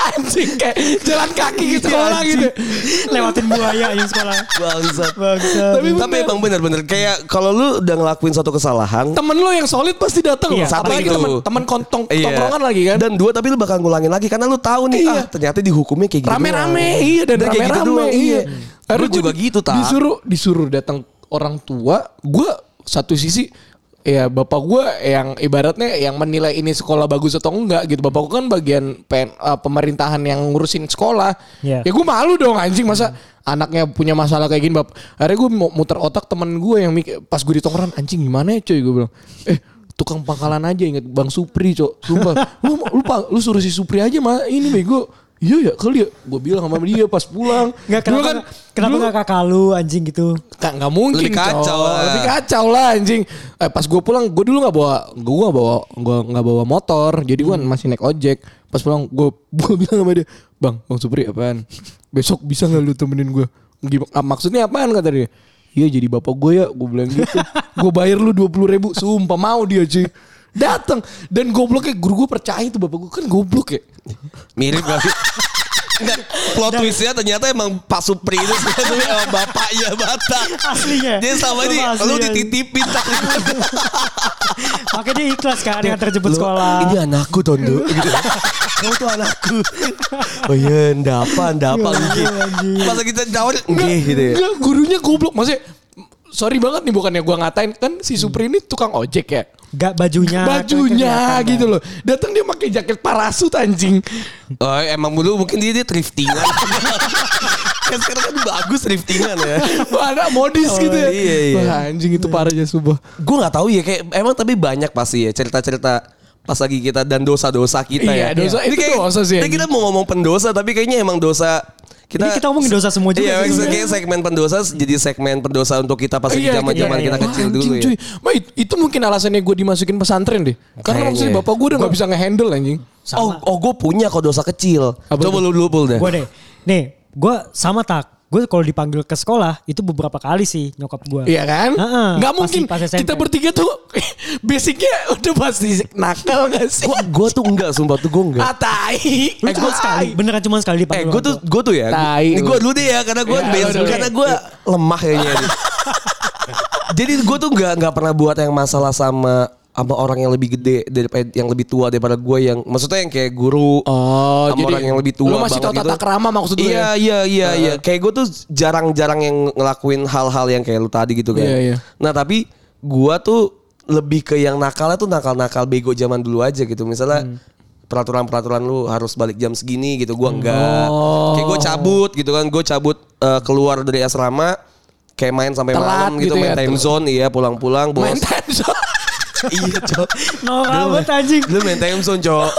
S1: Anjing kayak jalan kaki ke
S2: Iya,
S1: sekolah gitu.
S3: Lewatin buaya yang sekolah.
S2: Bangsat.
S3: Bangsa.
S2: Tapi, emang bener-bener kayak kalau lu udah ngelakuin satu kesalahan,
S1: Temen lo yang solid pasti datang.
S3: Iya,
S1: Satu
S2: satu
S1: lagi
S2: itu.
S1: temen, temen kontong,
S2: iya.
S1: tongkrongan lagi kan.
S2: Dan dua tapi lu bakal ngulangin lagi karena lu tahu nih
S1: Iya.
S2: ah ternyata dihukumnya kayak gitu.
S1: rame-rame iya dan
S2: Udah kayak gitu
S1: rame-rame
S2: doang,
S1: iya.
S2: iya.
S1: Akhirnya
S2: Gua juga
S1: di-
S2: gitu, Tak.
S1: Disuruh disuruh datang orang tua, gue satu sisi ya bapak gue yang ibaratnya yang menilai ini sekolah bagus atau enggak gitu. Bapak gue kan bagian pen- eh, pemerintahan yang ngurusin sekolah.
S3: Iya. Hmm.
S1: Ya gue malu dong anjing masa anaknya punya masalah kayak gini bap. Akhirnya gue mau muter otak temen gue yang mikir pas gue di tongkrongan anjing gimana ya coy gue bilang. Eh tukang pangkalan aja inget Bang Supri cok sumpah lu lu, pa- lu suruh si Supri aja mah ini bego iya ya kali ya gue bilang sama dia pas pulang Dulu
S3: Enggak kenapa
S1: kan
S3: kenapa
S1: dulu-
S3: enggak kakak lu anjing gitu.
S1: Ka- nggak mungkin
S2: Lebih kacau
S1: Cok.
S2: lah.
S1: lebih kacau lah anjing eh, pas gue pulang gue dulu nggak bawa gue nggak bawa gue nggak bawa motor jadi
S2: Hmm.
S1: gue masih naik ojek pas pulang gue gue bilang sama dia bang bang Supri apaan besok bisa nggak lu temenin gue maksudnya apaan kata dia iya jadi bapak gue ya gue bilang gitu gue bayar lu dua puluh ribu sumpah mau dia cuy datang dan gobloknya guru gue percaya tuh bapak gue kan goblok ya
S2: Mirip gak sih? Nggak, plot twistnya ternyata emang Pak Supri itu sebenarnya emang bapaknya Batak.
S3: Aslinya.
S2: Dia sama ini
S3: Sama
S2: lu
S3: aslinya.
S2: dititipin tak.
S3: Makanya dia ikhlas
S1: Iya.
S3: kan yang terjemput sekolah.
S2: Ini anakku Tondo gitu. Kamu tuh anakku. Oh iya, ndapa, ndapa gitu. Pas kita jawab, nggih gitu ya.
S1: Enggak, gurunya goblok. Maksudnya, sorry banget nih bukannya gua ngatain. Kan si
S2: Hmm.
S1: Supri ini tukang ojek ya.
S3: Enggak bajunya. gitu,
S1: Bajunya
S2: ya.
S3: kelihatan, kan.
S1: gitu loh. Datang dia pakai jaket parasut anjing.
S2: Oh, emang dulu mungkin dia, dia thriftingan. kan sekarang kan bagus thriftingan ya.
S1: Mana modis gitu ya.
S2: iya, iya.
S1: Wah, anjing itu parah ya sumpah.
S2: Gue nggak tahu ya kayak emang tapi banyak pasti ya cerita-cerita pas lagi kita dan dosa-dosa kita
S1: Iya,
S2: ya.
S1: dosa-
S2: Ini
S1: itu dosa sih,
S2: ini
S1: anjing.
S2: kita mau ngomong pendosa tapi kayaknya emang dosa kita
S3: Ini kita ngomongin dosa semua juga
S2: Iya,
S3: sih
S2: maksudnya
S3: sebenarnya.
S2: kayak segmen pendosa jadi segmen pendosa untuk kita pas lagi
S1: Iya,
S2: zaman-zaman
S3: iya,
S2: kita
S3: iya.
S2: kecil
S1: Wah,
S2: dulu
S1: anjing,
S2: ya.
S1: cuy. Ma, it- itu mungkin alasannya gue dimasukin pesantren deh. Karena
S2: Kayaknya.
S1: maksudnya bapak gue udah gak bisa ngehandle anjing.
S2: Oh, oh gue punya kok dosa kecil.
S1: Apa
S2: Coba lu dulu pul deh.
S3: Gue deh. Nih, gue sama tak. Gue kalau dipanggil ke sekolah itu beberapa kali sih nyokap gue.
S1: Iya kan?
S3: Heeh,
S1: Nggak
S3: pas-
S1: mungkin
S3: pas SMP.
S1: kita bertiga tuh basicnya udah pasti nakal gak sih? Ah,
S2: Gue gue tuh enggak sumpah tuh gue enggak.
S1: Atai.
S3: Lu cuma sekali, beneran cuma sekali
S2: Eh
S3: dipanggil.
S2: gue tuh gue tuh ya.
S1: Tai lu.
S2: Gue dulu deh ya karena gue
S1: Ya,
S2: basic,
S1: udah,
S2: karena
S1: udah.
S2: gue lemah kayaknya. Jadi gue tuh nggak nggak pernah buat yang masalah sama sama orang yang lebih gede daripada yang lebih tua daripada gue yang maksudnya yang kayak guru
S1: Oh,
S2: sama orang yang lebih tua
S1: Lu masih tau
S2: banget
S1: tata
S2: gitu.
S1: kerama maksud lu ya?
S2: iya, Iya, iya, iya. Kayak gue tuh jarang-jarang yang ngelakuin hal-hal yang kayak lu tadi gitu kan.
S1: Iya, iya.
S2: Nah tapi gue tuh lebih ke yang nakalnya tuh nakal-nakal bego zaman dulu aja gitu. Misalnya
S1: Hmm.
S2: peraturan-peraturan lu harus balik jam segini gitu. Gue enggak.
S1: Oh.
S2: Kayak gue cabut gitu kan. Gue cabut eh, keluar dari asrama. Kayak main sampai
S1: Telat
S2: malam gitu,
S1: gitu
S2: main
S1: ya,
S2: time
S1: telat.
S2: zone iya pulang-pulang bos.
S1: Main time zone.
S2: iya, Cok.
S3: Norak
S2: Dulu-
S3: banget, anjing.
S2: Dulu main time zone, Cok.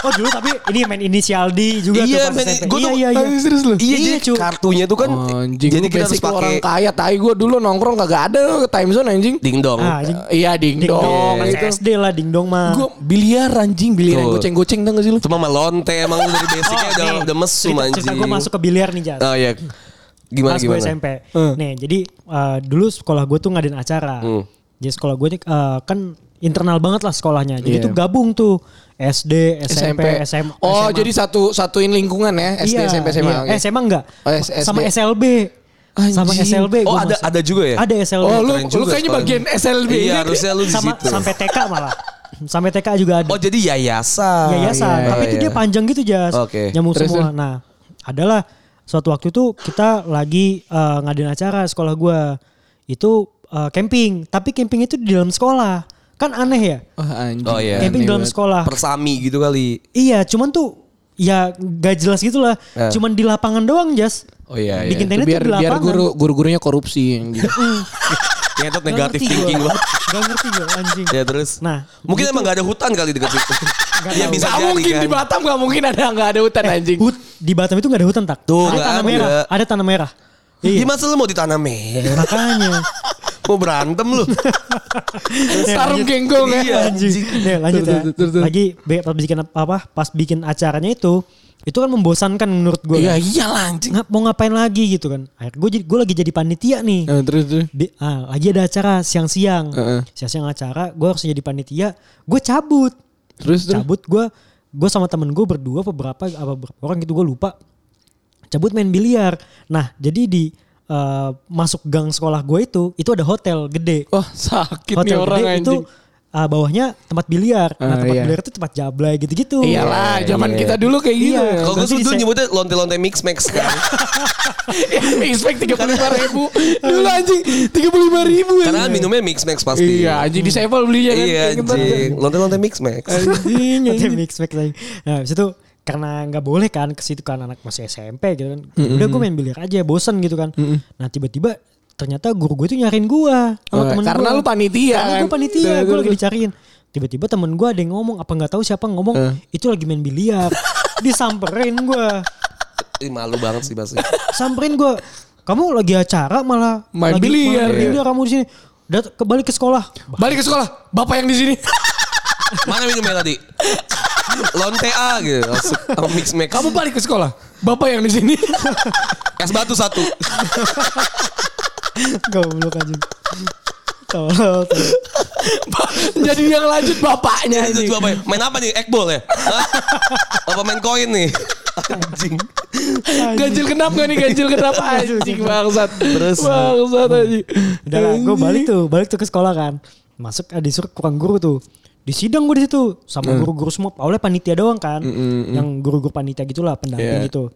S3: Oh dulu tapi ini main inisial D juga
S2: Iya,
S3: tuh pas
S2: main-
S3: SMP.
S2: gua tuh-
S3: iya, iya, iya.
S1: serius lu?
S2: Iya,
S3: Iya,
S2: iya
S3: Cuk.
S2: kartunya tuh kan
S1: Anjing,
S2: jadi
S1: lu
S2: kita harus
S1: basic lu
S2: pakai
S1: orang kaya. Tai gue dulu nongkrong kagak ada lu ke time zone anjing.
S2: dingdong.
S3: Ah, anjing.
S1: Iya dingdong
S3: Dingdong,
S2: Iya.
S1: gitu.
S3: SD lah dingdong mah.
S1: Gue biliar anjing, biliar yang
S2: Tuh.
S1: goceng-goceng tau gak sih lu?
S2: Cuma melonte emang dari basicnya udah,
S3: Oh, nih,
S2: udah mesum
S3: cerita,
S2: anjing.
S3: Cerita gue masuk ke biliar nih Jas.
S2: Oh iya. Gimana
S3: Pas gue
S2: gimana?
S3: SMP. Nih jadi eh, dulu sekolah gue tuh ngadain acara.
S2: Hmm.
S3: Jadi sekolah gue nih eh, kan internal banget lah sekolahnya.
S1: Iya.
S3: Jadi tuh gabung tuh SD, SMP, SMA.
S1: Oh, jadi satu satuin lingkungan ya, SD,
S3: Iya,
S1: SMP, SMA.
S3: iya.
S1: oke.
S3: Eh, SMA enggak.
S1: Oh, S- SD.
S3: Sama SLB. Sama
S1: Anjing.
S3: SLB.
S2: Oh
S3: gua
S2: ada
S3: masuk.
S2: ada juga ya?
S3: Ada SLB.
S1: Oh, lu
S2: Keren juga
S1: lu kayaknya
S2: sekolahnya.
S1: bagian SLB.
S2: Iya, harusnya lu di
S3: sama
S2: situ.
S3: sampai TK malah. sampai TK juga ada.
S2: Oh, jadi yayasan.
S3: yayasan.
S2: Iya,
S3: Tapi itu
S2: iya.
S3: dia panjang gitu jas,
S2: Oke.
S3: nyambung
S1: Terus,
S3: semua. Nah, adalah suatu waktu itu kita lagi eh, ngadain acara sekolah gua itu eh, camping, tapi camping itu di dalam sekolah, kan aneh ya?
S1: Wah, anjing.
S2: Oh, iya.
S1: Aneh
S3: Camping dalam
S1: banget.
S3: sekolah.
S2: Persami gitu kali.
S3: Iya, cuman tuh ya gak jelas gitulah.
S2: Eh.
S3: Cuman di lapangan doang jas.
S2: Oh iya iya.
S3: Bikin
S1: Itu
S3: tenda tuh
S1: biar
S3: di
S1: biar
S3: lapangan.
S1: guru guru-gurunya korupsi anjing.
S2: Ternyata
S3: Nggak
S2: Iya, negatif
S3: ngerti gua.
S2: thinking banget.
S3: Gak ngerti gue anjing.
S2: Ya terus.
S3: Nah,
S2: mungkin emang gak ada hutan kali dekat situ. Iya bisa
S1: Gak
S2: jadi
S1: mungkin
S2: kan.
S1: di Batam gak mungkin ada nggak ada hutan anjing.
S3: Eh, Hut di Batam itu gak ada hutan tak?
S2: Tuh, kan, nggak
S3: ada tanah
S2: ada.
S3: merah. Ada tanah merah.
S2: Iya,
S3: Iya.
S2: masa lu mau ditanam ya?
S3: Makanya.
S2: Mau berantem lu.
S1: Sarung genggong ya.
S2: Iya,
S3: anjing. Nih, lanjut
S1: Tuh,
S3: ya.
S1: tuh, tuh, tuh.
S3: Lagi be- pas bikin apa, apa pas bikin acaranya itu itu kan membosankan menurut gue.
S1: Iya iya lah anjing.
S3: Ngap mau ngapain lagi gitu kan? Akhirnya gue jadi gue lagi jadi panitia nih.
S1: Nah, terus terus.
S3: Di- ah, lagi ada acara siang-siang.
S1: Heeh.
S3: Siang-siang acara, gue harus jadi panitia. Gue cabut.
S1: Terus terus.
S3: Cabut gue gue sama temen gue berdua apa berapa apa berapa orang gitu gue lupa. Cabut main biliar. Nah, jadi di eh, masuk gang sekolah gue itu itu ada hotel gede
S1: Wah sakit nih
S3: hotel
S1: orang
S3: gede itu
S1: anjing.
S3: ah, bawahnya tempat biliar. Nah,
S1: Ah,
S3: tempat
S1: iya.
S3: biliar itu tempat jablay gitu-gitu.
S1: Iyalah, zaman
S2: iya.
S1: kita dulu kayak gitu.
S3: Iya.
S2: Kalau gue
S3: Nanti
S2: dulu
S3: dise-
S2: nyebutnya lonte-lonte mix max kan.
S1: Expect tiga puluh lima ribu. Dulu anjing tiga puluh lima ribu.
S2: Karena
S3: Iya.
S2: minumnya mix max pasti.
S1: Iya anjing di Sevel belinya kan.
S2: Iya
S1: Kayak gitu.
S2: anjing. Lonte-lonte mix max.
S3: Iya.
S1: Anjing.
S3: Nanti
S1: anjing.
S3: mix mix lagi. Nah, habis itu karena nggak boleh kan ke situ kan anak masih SMP gitu kan. Udah gue main biliar aja, bosen gitu kan. Nah, tiba-tiba ternyata guru gue itu nyariin gue sama
S1: Oh,
S3: temen
S1: karena
S3: gua.
S1: lu panitia
S3: Karena
S1: kan.
S3: gue panitia,
S1: Terus,
S3: gue
S1: terus.
S3: lagi dicariin. Tiba-tiba temen gue ada yang ngomong apa nggak tahu siapa ngomong
S1: Eh.
S3: itu lagi main biliar. Disamperin gue.
S2: Ih, malu banget sih pasti.
S3: samperin gue kamu lagi acara malah
S1: Main
S3: lagi
S1: biliar. Iya.
S3: main biliar kamu di sini udah kembali ke sekolah
S1: Balik ke sekolah. Bapak yang di sini.
S2: Mana minumnya tadi? Lonte A gitu. Langsung sama mix max.
S1: Kamu balik ke sekolah. Bapak yang di sini.
S2: Es batu satu.
S3: goblok aja tolol
S1: Jadi yang lanjut bapaknya
S2: Itu
S1: anjing.
S2: tuh apa ya? Main apa nih? Eggball ya? Hah? apa main koin nih? Anjing.
S1: Ganjil kenap gak nih ganjil kenap anjing bangsat. Terus bangsat anjing.
S3: udah lah gue balik tuh balik tuh ke sekolah kan masuk eh, disuruh kurang guru tuh di sidang gue di situ sama guru-guru semua oleh panitia doang kan yang guru-guru panitia gitulah
S1: Iya.
S3: pendamping gitu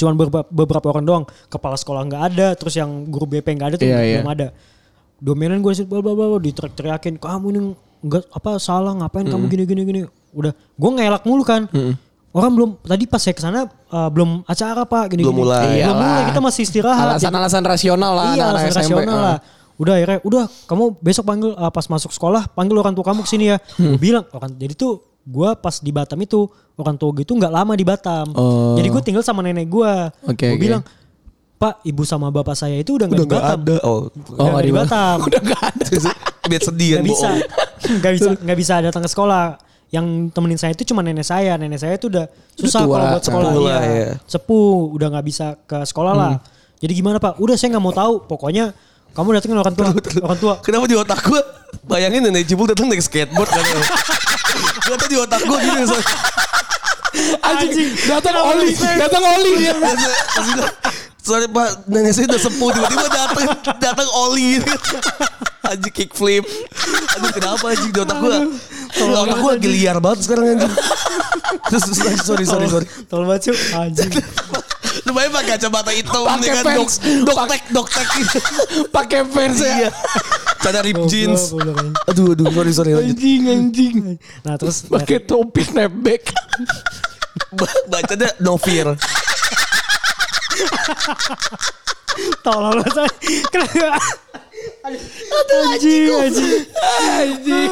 S3: cuman beberapa, beberapa orang doang kepala sekolah nggak ada terus yang guru BP nggak ada tuh
S1: Iya, iya.
S3: belum ada dominan gue sih bla bla bla bla, diteriak-teriakin kamu ini nggak apa salah ngapain kamu gini gini gini udah gue ngelak mulu kan orang belum tadi pas saya kesana eh, belum acara pak gini
S2: Belum
S3: gini.
S2: mulai.
S3: belum mulai
S1: Iyalah.
S3: kita masih istirahat Jadi-
S1: Alasan-alasan rasional lah
S3: iya,
S1: anak-anak
S3: alasan
S1: SMP.
S3: rasional lah. Udah akhirnya, udah kamu besok panggil uh, pas masuk sekolah panggil orang tua kamu kesini ya. Gue bilang orang jadi tuh gue pas di Batam itu orang tua gue itu nggak lama di Batam.
S1: Oh.
S3: Jadi gue tinggal sama nenek gue.
S1: Oke, oke.
S3: gue bilang Pak, ibu sama bapak saya itu udah nggak
S2: Udah
S3: di
S2: gak
S3: Batam.
S2: ada. Oh.
S1: Oh,
S3: Udah nggak
S1: nggak
S3: di
S1: di
S3: Batam.
S1: Udah gak ada.
S2: Biar sedih
S3: Gak
S2: kan
S3: bisa,
S2: bohong.
S3: nggak bisa, nggak bisa datang ke sekolah. Yang temenin saya itu cuma nenek saya. Nenek saya itu udah susah
S1: tua,
S3: kalau buat sekolah.
S2: sepuh lah,
S3: Iya. Hmm.
S2: ya.
S3: Sepuh, udah nggak bisa ke sekolah lah. Jadi gimana Pak? Udah saya nggak mau tahu. Pokoknya kamu datengin orang tua, orang tua.
S2: Kenapa di otak gue bayangin nenek Cibul datang naik skateboard kan? Gue tuh di otak gitu, gue gini. so-
S1: Anjing.
S3: Anjing.
S1: Datang
S3: Kenapa
S1: Oli.
S3: bisa?
S1: Datang Oli.
S2: Maksud- maksud gua, Soalnya pak nenek saya udah sepuh tiba-tiba datang datang oli gitu. Anjing kickflip. Anjing kenapa anjing di otak gua? Otak gua lagi liar banget sekarang anjing. Terus terus, sorry sorry sorry.
S3: Tol banget Cuk. anjing.
S2: Lu bayangin pakai kacamata hitam
S1: Pakai
S2: dengan dok
S1: pants.
S2: doktek doktek gitu.
S1: Pakai fans ya.
S2: Iya. Cara rip
S3: Goblok,
S2: jeans.
S3: goblok, anjing.
S2: Aduh aduh sorry sorry lanjut.
S1: Anjing anjing.
S3: Nah terus
S1: Pakai topi snapback.
S2: Ba- Bacanya no fear.
S3: tolol banget. Kenapa? Aduh, anjing, anjing.
S1: Anjing.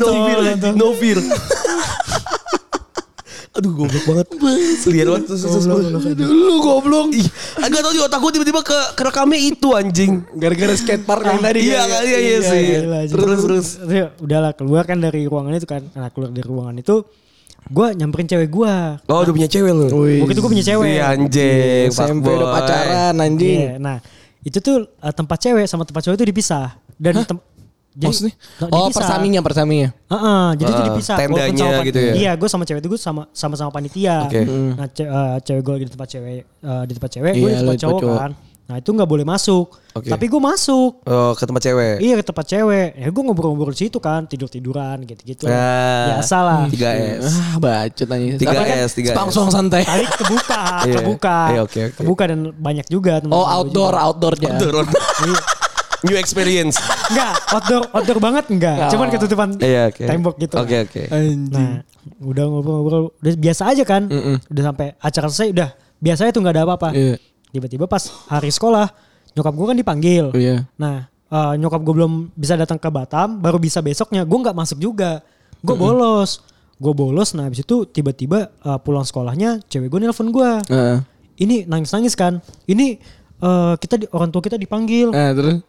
S2: No
S1: Anjing.
S2: fear,
S3: Tolong, tolong.
S2: no fear. Aduh goblok banget. Lihat banget terus terus.
S3: Goblok,
S2: terus.
S3: goblok.
S1: Dulu goblok.
S2: Ih, agak tau di otak gue tiba-tiba ke kerekamnya itu anjing.
S1: Gara-gara skatepark yang tadi.
S2: Iya,
S1: kan?
S2: iya, iya sih.
S3: Iya, gila, anjing.
S2: Terus terus.
S3: Terus, udahlah keluar kan dari ruangan itu kan. Nah keluar dari ruangan itu gue nyamperin cewek gue.
S2: Oh, udah punya cewek lu.
S3: Waktu itu gue punya cewek.
S2: Iya anjing,
S1: SMP
S2: fuckboy.
S1: udah pacaran anjing.
S3: Iya, nah itu tuh eh, tempat cewek sama tempat cowok itu dipisah dan tem- jadi-
S1: Maksudnya?
S3: Nah,
S1: Oh,
S3: dipisah.
S1: persaminya, persaminya.
S3: Heeh, jadi itu
S2: Ah,
S3: dipisah.
S2: tendanya
S3: Walaupun sama pan-
S2: gitu ya?
S3: Iya, gue sama cewek itu gue sama sama sama panitia.
S2: Oke.
S3: Nah, ce- eh, cewek gue lagi di tempat cewek, eh, di tempat cewek,
S1: Iya,
S3: gue di
S1: lu
S3: tempat
S1: di tempat
S3: cowok
S1: cowok.
S3: kan. Nah itu nggak boleh masuk.
S2: Oke.
S3: Tapi gue masuk.
S2: Oh, ke tempat cewek.
S3: Iya ke tempat cewek. Ya gue ngobrol-ngobrol di situ kan, tidur-tiduran gitu-gitu.
S2: Ah,
S3: Biasa lah.
S2: 3S.
S1: Ah, bacot anjing.
S2: 3S,
S1: Tapi kan
S2: 3S.
S1: Spangsong santai.
S3: Tadi kebuka,
S2: Iya.
S3: kebuka.
S2: Iya, oke, oke.
S3: Kebuka dan banyak juga teman-teman
S1: Oh,
S3: gua
S1: outdoor,
S3: juga.
S1: outdoornya.
S2: Turun. New experience.
S3: Enggak, outdoor outdoor banget enggak.
S1: Oh.
S3: Cuman ketutupan
S2: Iya, oke.
S3: tembok gitu.
S2: Oke, oke.
S1: Anjing.
S3: Nah, udah ngobrol-ngobrol, udah biasa aja kan. Udah sampai acara selesai udah biasanya tuh nggak ada apa-apa.
S1: Iya.
S3: Tiba-tiba pas hari sekolah, nyokap gue kan dipanggil.
S1: Oh, iya.
S3: Nah, eh, nyokap gue belum bisa datang ke Batam, baru bisa besoknya. Gue nggak masuk juga. Gue bolos. Gue bolos, nah habis itu tiba-tiba eh, pulang sekolahnya cewek gue nelpon gue.
S1: Heeh.
S3: Ini nangis-nangis kan. Ini eh, kita di, orang tua kita dipanggil.
S1: Nah, terus.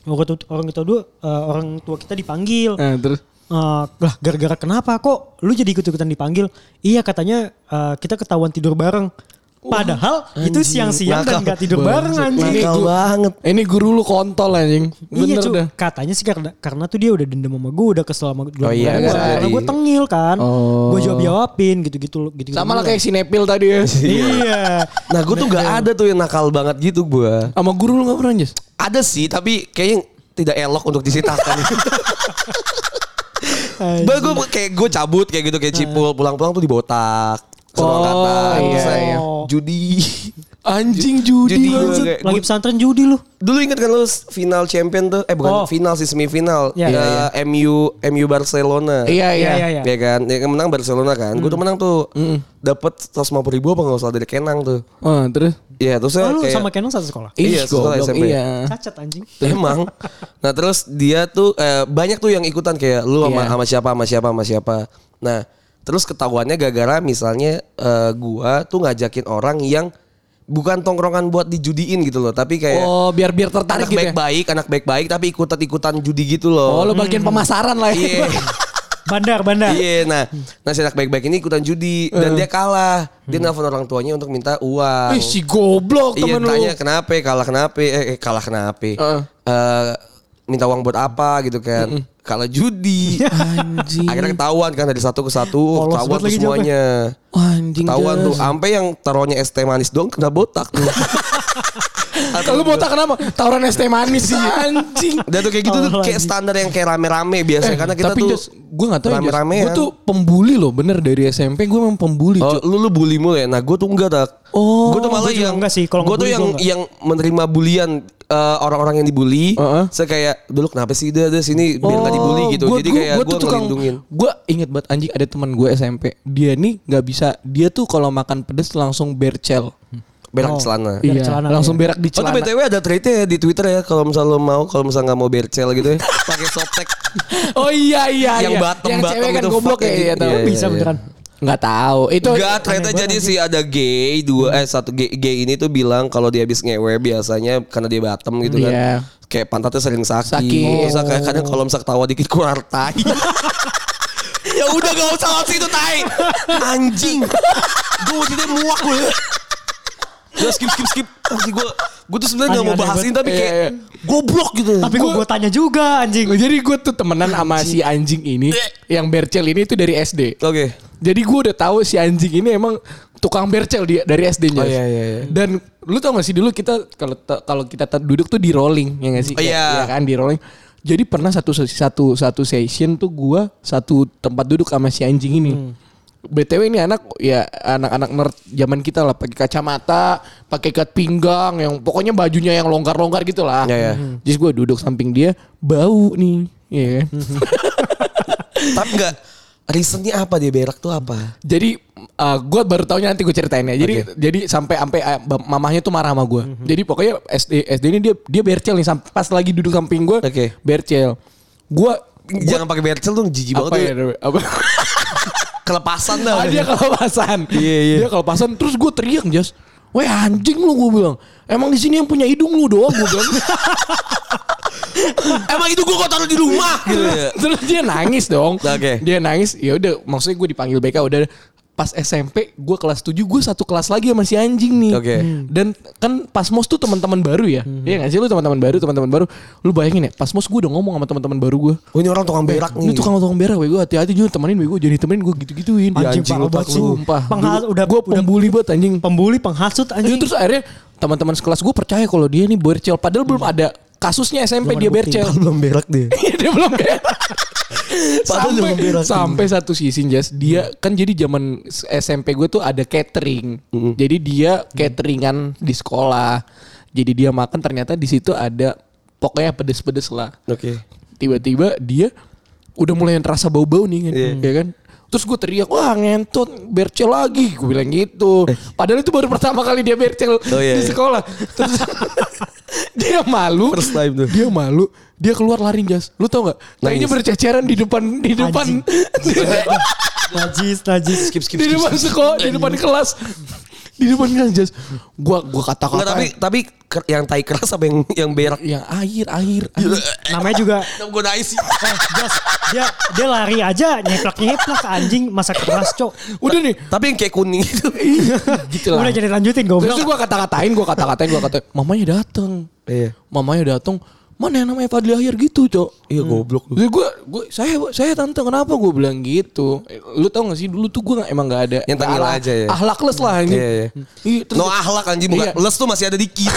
S3: Orang tua, orang tua dua, eh, orang tua kita dipanggil.
S1: Nah, terus.
S3: Eh, lah gara-gara kenapa kok lu jadi ikut-ikutan dipanggil? Iya katanya eh, kita ketahuan tidur bareng. Padahal itu siang-siang dan
S2: Nakal.
S3: gak tidur bareng anjing.
S1: Ini
S2: Nakal
S1: gu-
S2: banget.
S1: Ini guru lu kontol anjing.
S3: Iya
S1: Bener
S3: cu,
S1: dah.
S3: katanya sih karena, karena tuh dia udah dendam sama gue, udah kesel sama gue.
S2: Oh iya,
S1: gara-gara
S3: karena
S2: dari-
S3: gue tengil kan.
S1: Oh.
S3: Gue jawab-jawabin gitu-gitu. gitu
S1: Sama lah kayak si Nepil tadi ya.
S3: Iya.
S2: Nah, gue tuh gak ada tuh yang nakal banget gitu gue.
S1: Sama guru lu gak pernah Jas?
S2: Ada sih, tapi kayaknya tidak elok untuk diceritakan. Bah, gue kayak gue cabut kayak gitu kayak
S3: Nah.
S2: cipul pulang-pulang tuh dibotak. Seru
S1: Oh,
S2: angkatan,
S1: iya,
S2: terus saya
S1: iya.
S2: judi.
S1: Anjing judi.
S2: Judi
S1: anjing.
S2: gue kayak-
S3: Lagi pesantren judi lu.
S2: Dulu inget kan lu final champion tuh, eh bukan
S3: Oh.
S2: final sih semifinal.
S3: Iya,
S2: Eh,
S3: iya,
S2: MU MU Barcelona.
S1: Iya, iya.
S3: Iya, Hmm.
S2: Ya kan, yang menang Barcelona kan. Gue tuh menang tuh. Dapat 150 ribu apa nggak usah dari Kenang tuh.
S1: Oh, terus.
S2: Iya, terus saya
S3: Oh, lu
S2: kayak
S3: sama Kenan satu sekolah.
S2: Iya,
S1: Iya,
S2: sekolah SMP.
S1: Iya.
S3: Cacat anjing.
S2: Emang. Nah terus dia tuh eh, banyak tuh yang ikutan kayak lu
S1: Iya.
S2: sama sama siapa sama siapa sama siapa. Nah terus ketahuannya gara-gara misalnya eh, gua tuh ngajakin orang yang bukan tongkrongan buat dijudiin gitu loh, tapi kayak
S1: Oh, biar biar tertarik
S2: anak
S1: gitu. ya.
S2: baik-baik, anak baik-baik tapi ikutan-ikutan judi gitu
S1: Oh,
S2: loh.
S1: lu bagian pemasaran lah.
S2: Iya.
S1: ya.
S3: Bandar, bandar.
S2: Iya, nah, nah si anak baik-baik ini ikutan judi
S1: Eh.
S2: dan dia kalah. Dia nelfon orang tuanya untuk minta uang.
S1: Ih, si goblok
S2: Iya
S1: temen lu.
S2: tanya kenapa kalah kenapa eh eh, kalah kenapa
S1: Heeh.
S2: Eh, minta uang buat apa gitu kan kalah judi
S1: Iya. Anjing.
S2: akhirnya ketahuan kan dari satu ke
S3: Polos
S2: satu
S1: Oh,
S2: ketahuan
S3: banget
S2: tuh
S3: lagi
S2: semuanya
S1: Anjing.
S2: ketahuan
S1: Jas.
S2: tuh sampai yang taruhnya es teh manis doang kena botak tuh
S1: Kalau botak kenapa? Tawuran es teh manis sih. Anjing.
S2: dan tuh kayak gitu tuh
S3: Allah,
S2: kayak
S3: anjing.
S2: standar yang kayak rame-rame biasanya karena kita
S1: Tapi
S2: tuh
S1: Jas, gue gak tau ya
S2: rame-rame
S1: Gue tuh pembuli loh bener dari SMP gue memang pembuli
S2: Oh,
S1: cuy.
S2: lu lu bully mulu ya. Nah, gue tuh enggak tak.
S1: Oh,
S2: gue tuh malah
S3: gua juga
S2: yang
S3: enggak sih. Kalau
S2: gue tuh
S3: ngebully
S2: yang
S3: gua enggak.
S2: yang menerima bulian eh, orang-orang yang dibully.
S1: Heeh.
S2: Saya kayak, dulu kenapa sih dia ada sini biar
S3: Oh,
S2: nggak dibully gitu.
S1: Oh, Gua,
S2: Jadi
S1: gua-
S2: kayak
S1: gua
S2: gue
S1: tuh tukang-
S2: ngelindungin.
S1: Gua inget banget anjing ada teman gue SMP. Dia nih nggak bisa. Dia tuh kalau makan pedes langsung bercel.
S2: Berak celana.
S3: Berak
S1: Iya,
S3: Oh. celana,
S1: langsung
S3: iya.
S1: berak di
S2: Oh, tuh
S1: celana.
S2: BTW ada trade-nya ya di Twitter ya kalau misalnya lo mau, kalau misalnya nggak mau bercel gitu ya, pakai softtek
S1: Oh iya iya
S2: yang
S1: iya.
S2: batem
S1: yang
S2: batem
S1: cewek kan
S2: itu
S1: goblok
S2: fuck
S1: ya, iya, tahu.
S2: Iya,
S3: Bisa
S2: iya, iya.
S3: beneran.
S1: Nggak tahu. Itu
S2: Enggak, ternyata jadi sih ada gay dua eh satu gay, gay ini tuh bilang kalau dia habis ngewe biasanya karena dia batem gitu kan.
S1: Iya.
S2: Kayak pantatnya sering sakit.
S1: Sakit.
S2: Terus kayak kadang kalau misalnya ketawa dikit keluar tai. ya udah gak usah lewat situ tai. Anjing. gue jadi muak gue. Udah skip skip skip. Masih gue gue tuh sebenarnya gak mau
S3: Aneh-aneh
S2: bahasin tapi
S1: Iya,
S2: kayak
S1: iya.
S2: goblok gitu.
S3: Tapi gue gue tanya juga anjing.
S1: Jadi gue tuh temenan sama si anjing ini yang bercel ini tuh dari SD.
S2: Oke.
S1: Jadi gue udah tahu si anjing ini emang tukang bercel dia dari SD-nya.
S2: Oh, iya, iya, iya.
S1: Dan lu tau gak sih dulu kita kalau ta- kalau kita ta- duduk tuh di rolling ya gak sih?
S2: Oh, iya.
S1: kan di rolling. Jadi pernah satu se- satu satu session tuh gua satu tempat duduk sama si anjing ini.
S2: Hmm.
S1: BTW ini anak ya anak-anak nerd zaman kita lah pakai kacamata, pakai ikat pinggang yang pokoknya bajunya yang longgar-longgar gitu lah.
S2: Iya, iya.
S1: Jadi gue duduk samping dia bau nih. Iya kan?
S2: Hmm. Tapi enggak Reasonnya apa dia berak tuh apa?
S1: Jadi gue baru taunya nanti gue ceritain ya. Jadi jadi sampai sampai eh, bap- mamahnya tuh marah sama gue.
S2: Mhm.
S1: Jadi pokoknya SD SD ini dia dia bercel nih sam- pas lagi duduk samping gue.
S2: Oke.
S1: Bercel. Gue
S2: Jangan pakai bercel dong jijik
S1: apa ya?
S2: banget tuh.
S1: Apa?
S2: Kelepasan
S1: Ah,
S2: dah.
S1: dia kelepasan.
S2: Iya, iya.
S1: Dia kelepasan terus gue teriak, Jas. Weh anjing lu gue bilang. Emang di sini yang punya hidung lu doang gue bilang.
S2: Emang itu gue kok taruh di rumah gitu ya.
S1: Terus dia nangis dong.
S2: Nah, Oke.
S1: Dia nangis. Ya udah, maksudnya gue dipanggil BK udah pas SMP gue kelas 7 gue satu kelas lagi sama si anjing nih.
S2: Oke. Hmm.
S1: Dan kan Pasmos tuh teman-teman baru ya.
S3: Hmm.
S1: Iya nggak sih lu teman-teman baru, teman-teman baru. Lu bayangin ya, Pasmos gue udah ngomong sama teman-teman baru gue.
S2: Oh, ini orang tukang berak
S1: Ini
S2: nih.
S1: tukang tukang berak gue hati-hati juga temenin gue jadi temenin gue gitu-gituin.
S2: Anjing,
S3: parah
S2: otak
S3: banget sih.
S2: lu.
S1: Sumpah.
S3: Penghas-
S1: Dulu
S3: udah
S1: gue
S3: udah
S1: pembuli banget anjing.
S3: pembuli, penghasut
S1: Iya,
S3: anjing.
S1: terus akhirnya teman-teman sekelas gue percaya kalau dia nih bercel padahal
S3: Hmm.
S1: belum ada kasusnya SMP dia bercel.
S2: Belum berak dia.
S1: Iya, dia belum beres.
S2: Padahal
S1: sampai
S2: belum beres.
S1: sampai satu sisi Jas dia kan jadi zaman SMP gue tuh ada catering jadi dia cateringan di sekolah jadi dia makan ternyata di situ ada pokoknya pedes-pedes lah
S2: Oke.
S1: tiba-tiba dia udah mulai terasa bau-bau nih kan,
S2: Iya.
S1: ya kan terus gue teriak wah ngentot bercel lagi gue bilang gitu padahal itu baru pertama kali dia bercel
S2: iya,
S1: di
S2: iya.
S1: sekolah terus dia malu
S2: First time tuh.
S1: dia malu dia keluar lari jas lu tau nggak kayaknya
S2: Nangis.
S1: berceceran di depan di depan
S3: Najis, najis.
S2: Skip skip
S1: di
S2: skip.
S1: depan sekolah di depan kelas di depan kelas jas gua gua
S2: Nggak, tapi
S1: kata-kata
S2: tapi ker- yang tai keras apa yang yang berak?
S1: yang air air, air.
S3: Namanya juga
S2: Gue nais.
S3: eh, Jas, dia dia lari aja nyeplak-nyeplak anjing masa keras, Cok.
S1: udah nih
S2: Tapi yang kayak kuning itu.
S1: gitu lah
S3: Udah jadi lanjutin goblok.
S1: Terus gue kata-katain, gue kata-katain, gue kata mamanya datang.
S2: Iya.
S1: Mamanya datang. Mana yang namanya Fadli Akhir gitu, Cok.
S2: Iya goblok lu.
S1: Jadi gue, gue, saya, saya tante kenapa gue bilang gitu? Eh, Lu tau gak sih dulu tuh gue emang gak ada
S2: Yang tangil
S1: ahlak-
S2: aja ya?
S1: Ahlakless lah anjing.
S2: Iya, iya.
S1: Iya, terus-
S2: No ahlak anjing bukan.
S1: Iya.
S2: Les tuh masih ada dikit.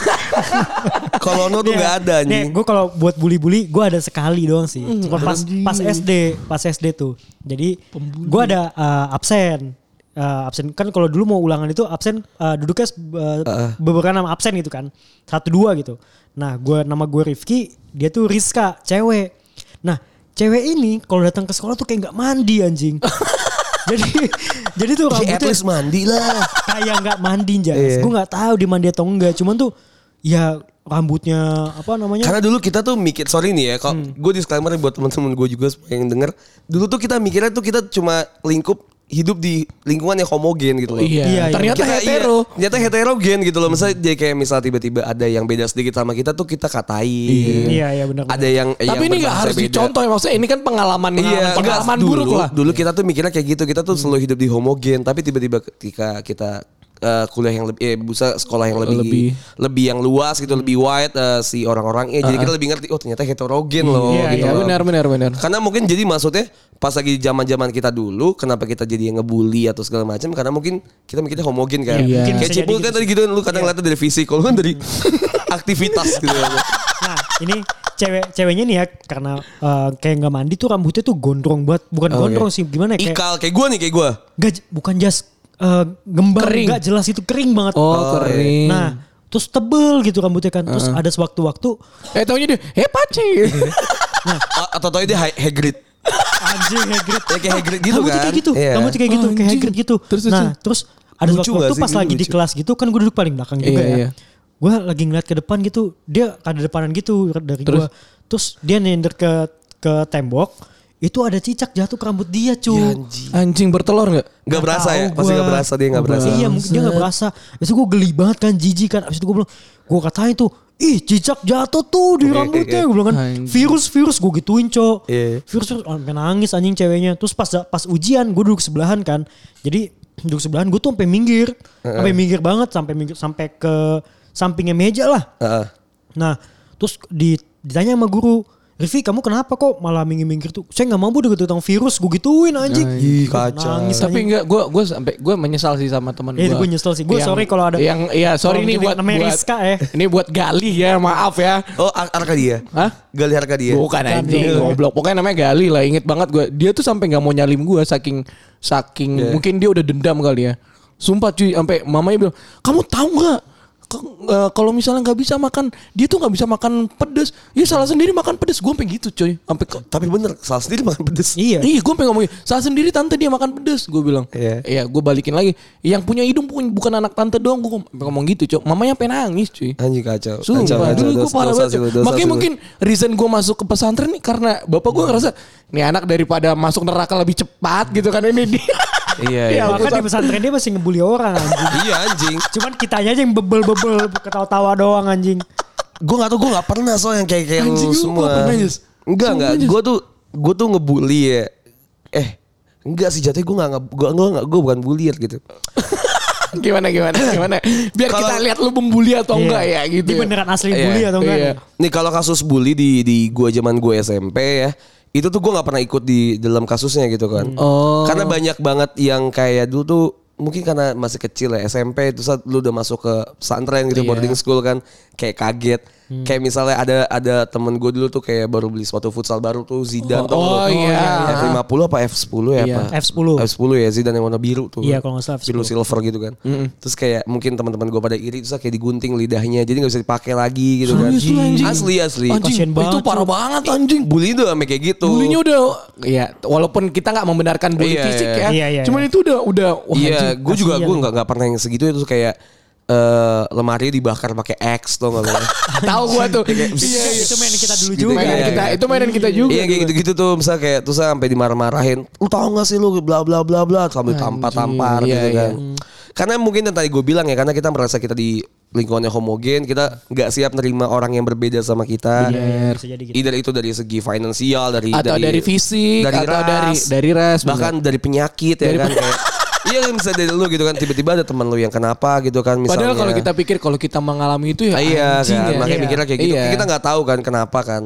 S2: Kalau no tuh nggak ada anjing.
S3: Gue Iya. kalau buat bully-bully gue ada sekali doang sih. Cuma pas, pas SD, pas SD tuh. Jadi gue ada uh, absen. Uh, absen kan kalau dulu mau ulangan itu absen uh, duduknya se- uh, beberapa nama absen gitu kan satu dua gitu nah gue nama gue Rifki dia tuh Rizka cewek nah cewek ini kalau datang ke sekolah tuh kayak nggak mandi anjing jadi jadi tuh
S2: Ya, at
S3: rambutnya
S2: least mandi lah.
S3: Ah, kayak nggak mandi jas.
S2: Iya.
S3: Gue nggak tahu dia mandi atau enggak. Cuman tuh ya rambutnya apa namanya?
S2: Karena dulu kita tuh mikir sorry nih ya, kalau gue disclaimer nih buat teman-teman gue juga supaya yang denger, dulu tuh kita mikirnya tuh kita cuma lingkup hidup di lingkungan yang homogen gitu loh.
S1: Iya,
S3: Iya, iya.
S1: ternyata
S2: Kita- iya,
S1: hetero.
S2: ternyata heterogen gitu loh. Misalnya dia kayak misal tiba-tiba ada yang beda sedikit sama kita tuh kita katain.
S3: Iya, iya, benar, benar.
S2: Ada yang yang
S1: Tapi ini gak
S2: berbahasa
S1: harus
S2: beda.
S1: dicontoh ya, maksudnya ini kan pengalaman
S2: Iya,
S1: pengalaman
S2: enggak,
S1: buruk
S2: dulu,
S1: lah.
S2: Dulu kita tuh mikirnya kayak gitu, kita tuh selalu hidup di homogen, tapi tiba-tiba ketika kita eh, kuliah yang lebih, eh, busa sekolah yang lebih,
S1: Lebih.
S2: lebih, yang luas gitu, lebih wide eh, si orang-orangnya, jadi kita lebih ngerti, oh ternyata heterogen loh.
S1: Ah. Iya,
S2: gitu
S1: iya,
S2: loh.
S1: benar, benar, benar.
S2: Karena mungkin jadi maksudnya pas lagi zaman-zaman kita dulu, kenapa kita jadi yang ngebully atau segala macam? Karena mungkin kita mikirnya homogen kan.
S1: Iya.
S3: Mungkin
S2: Kayak
S3: bisa
S2: Cipul
S3: jadi
S2: kan
S3: gitu
S2: tadi gitu kan, lu kadang ngeliatnya dari fisik, kalau kan dari aktivitas gitu.
S3: Nah ini cewek ceweknya nih ya karena eh, kayak nggak mandi tuh rambutnya tuh gondrong banget. Bukan gondrong sih gimana ya? Kayak
S2: Ikal kayak gue nih, kayak gue.
S3: nggak j- bukan jas eh, gembar
S1: Kering.
S3: nggak jelas itu kering banget.
S1: Oh, kering.
S3: Nah terus tebel gitu rambutnya kan. Terus ada sewaktu-waktu
S1: Eh taunya dia, eh pace.
S2: Atau tau dia Hag- Hagrid.
S3: anjing Hagrid.
S2: Ya, kayak Hagrid gitu
S3: rambutnya
S2: kan.
S3: kayak gitu,
S2: Iya.
S3: rambutnya kayak gitu, kayak
S1: Anjing.
S3: Hagrid gitu.
S1: Terus, terus,
S3: nah,
S1: terus.
S3: terus ada
S2: Lucu
S3: waktu
S2: gak
S3: itu
S2: sih?
S3: pas
S2: Dulu
S3: lagi di
S2: lucu.
S3: kelas gitu kan gue duduk paling belakang
S1: Iya,
S3: juga ya.
S1: iya.
S3: Gue lagi ngeliat ke depan gitu, dia ada depanan gitu dari
S1: Terus?
S3: gue. Terus dia nender ke ke tembok, itu ada cicak jatuh ke rambut dia
S2: Iya,
S3: cuy.
S1: Anjing bertelur gak?
S2: Gak berasa
S3: tahu
S2: ya? Pasti
S3: gua.
S2: gak berasa dia gak berasa.
S3: Iya mungkin dia gak berasa. Terus gue geli banget kan jijik kan. Abis itu gue bilang gue katain tuh ih cicak jatuh tuh di rambutnya. Gue bilang kan
S1: Anjing.
S3: virus virus gue gituin cok.
S2: Iya.
S3: Virus virus oh, sampai nangis anjing ceweknya. Terus pas pas ujian gue duduk sebelahan kan. Jadi duduk sebelahan gue tuh sampai minggir. Sampai minggir banget sampai minggir sampai ke sampingnya meja lah.
S2: Heeh.
S3: Nah, terus di- ditanya sama guru, Rifi kamu kenapa kok malah minggir-minggir tuh? Saya nggak mampu deket tentang virus, gue gituin anjing.
S1: Nah,
S2: Ih,
S3: Gua
S2: kacau.
S3: Nangis
S1: tapi
S3: anjing.
S1: enggak gue gue sampai gue menyesal sih sama teman
S3: Iya,
S1: gue.
S3: gua nyesel sih. Gua sorry kalau ada-
S1: yang iya sorry
S3: kalau
S1: ini
S3: mungkin
S1: buat
S3: namanya
S1: buat-
S3: Rizka ya.
S1: Ini buat Gali ya, maaf ya.
S2: Oh, Ar- Arkadia.
S1: Hah?
S2: Gali Arkadia.
S1: Bukan anjing
S2: Iya.
S1: goblok. Pokoknya namanya Gali lah, inget banget gue. Dia tuh sampai nggak mau nyalim gue saking saking
S2: Iya.
S1: mungkin dia udah dendam kali ya. Sumpah cuy, sampai mamanya bilang, "Kamu tahu nggak? Ke- eh, Kalau misalnya nggak bisa makan, dia tuh nggak bisa makan pedes. Ya salah sendiri makan pedes. Gue sampai gitu cuy, sampai ke
S2: Tapi bener, salah sendiri makan pedes.
S3: Iya.
S1: Iya, gue pengen ngomongin. Salah sendiri tante dia makan pedes, gue bilang.
S2: Iya.
S1: Iya, gue balikin lagi. Yang punya hidung pun bukan anak tante doang, gue ngom- ngomong gitu, cok. Mamanya pengen nangis, cuy.
S2: Anjing kacau. kacau,
S1: Sumpah,
S2: kacau.
S1: dulu gue
S2: eh, Dosa,
S1: parah
S2: dosa
S1: banget.
S2: sih gua,
S1: Cok.
S2: dosa sih
S1: Makanya
S2: gua.
S1: mungkin reason gue masuk ke pesantren nih karena bapak
S2: Nah.
S1: gue ngerasa nih anak daripada masuk neraka lebih cepat gitu kan ini dia.
S2: Iya,
S1: Ya,
S2: iya.
S1: gua
S3: Bahkan Eh, di
S1: sam-
S3: pesantren dia masih ngebully orang anjing.
S2: Iya anjing.
S3: Cuman kitanya aja yang bebel-bebel ketawa-tawa doang anjing.
S2: Gue gak tau, gue gak pernah soalnya yang kayak kayak
S1: Anjing,
S2: lu
S1: lu
S2: semua.
S1: nggak pernah, Yus?
S2: Enggak,
S1: Sumpah,
S2: enggak.
S1: Yus.
S2: Gue tuh, gue tuh ngebully ya. Eh, enggak sih jatuhnya gue gak, gue gak, gue bukan bullier gitu.
S1: gimana gimana gimana. Biar
S2: Kalau-
S1: kita lihat lu membuli atau
S3: Iya.
S1: enggak ya gitu.
S3: Dia
S1: ya.
S3: beneran asli
S2: Iya,
S3: bully atau enggak?
S1: iya.
S3: nih?
S2: Nih kalau kasus bully di di gua zaman gua SMP ya, itu tuh gua nggak pernah ikut di dalam kasusnya gitu kan.
S1: Oh.
S2: Karena banyak banget yang kayak dulu tuh mungkin karena masih kecil ya SMP itu saat lu udah masuk ke pesantren
S1: Iya.
S2: gitu
S1: Hmm.
S2: boarding school kan kayak kaget. Kayak misalnya ada ada temen gue dulu tuh kayak baru beli sepatu futsal baru tuh
S1: Oh,
S2: Zidane tau
S1: oh,
S2: lu.
S1: iya.
S2: F50 apa F10 ya
S1: Iya.
S2: apa?
S3: F10.
S2: F10 ya Zidane yang warna biru tuh.
S3: Iya, kalau nggak salah F10.
S2: Biru silver gitu kan. Terus kayak mungkin teman-teman gue pada iri terus kayak digunting lidahnya jadi nggak bisa dipakai lagi gitu kan.
S1: Serius lu, Iya, anjing?
S2: Asli asli.
S1: Anjing,
S3: Kasian banget,
S1: itu parah banget anjing.
S2: Bully itu sampai kayak gitu.
S1: Bulinya udah ya walaupun kita nggak membenarkan bully
S2: Iya,
S1: fisik
S2: iya.
S1: ya.
S3: Iya, iya,
S1: cuman itu udah udah wah
S2: Iya,
S1: anjing.
S2: gue juga
S3: kasihan.
S2: gue nggak nggak pernah yang segitu itu kayak eh lemari dibakar pakai X tuh nggak
S1: tahu gua tuh. iya, iya.
S3: Itu mainan kita dulu
S2: Gitu
S3: juga.
S1: Mainan
S2: Iya,
S1: kita
S2: iya.
S1: itu mainan kita juga.
S2: Iya kayak gitu-gitu tuh misalnya kayak terus sampai dimarah-marahin. Lu tau gak sih lu bla bla bla bla sambil tampar-tampar
S1: Anjing,
S2: gitu
S1: iya,
S2: kan. Karena mungkin yang tadi gue bilang ya karena kita merasa kita di lingkungan yang homogen, kita nggak siap nerima orang yang berbeda sama kita.
S3: Bener, bisa jadi gitu.
S2: Either itu dari segi finansial, dari
S1: Atau dari fisik, atau dari- dari ras,
S2: bahkan dari penyakit
S1: Dari
S2: ya kan. kayak, iya kan bisa dari lu gitu kan tiba-tiba ada teman lu yang kenapa gitu kan misalnya.
S1: Padahal kalau kita pikir kalau kita mengalami itu ya
S2: Ah, iya
S1: anjing
S2: kan,
S1: ya.
S2: makanya
S1: Iya.
S2: mikirnya kayak gitu.
S1: Iya.
S2: Kita nggak tahu kan kenapa kan.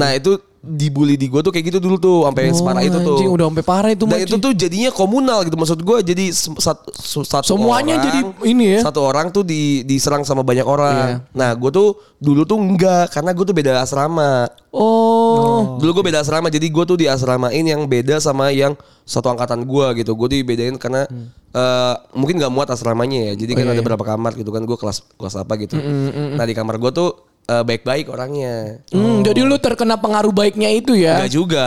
S2: Nah itu dibully di gua tuh kayak gitu dulu tuh sampai yang
S1: Oh,
S2: separah itu tuh.
S1: anjing, udah sampai parah itu,
S2: Dan
S1: Mochi.
S2: itu tuh jadinya komunal gitu maksud gua jadi se- satu, su- satu
S1: Semuanya
S2: orang,
S1: jadi ini ya. Iya.
S2: Satu orang tuh di, diserang sama banyak orang. Nah gua tuh dulu tuh enggak karena gua tuh beda asrama.
S1: Oh.
S2: Dulu gue beda asrama, jadi gue tuh diasramain yang beda sama yang satu angkatan gue gitu. Gue dibedain karena eh, mungkin nggak muat asramanya ya. Jadi kan ada berapa kamar gitu kan. Gue kelas kelas apa gitu. Nah di kamar gue tuh eh, baik-baik orangnya.
S1: Hmm, jadi lu terkena pengaruh baiknya itu ya.
S2: Nggak juga,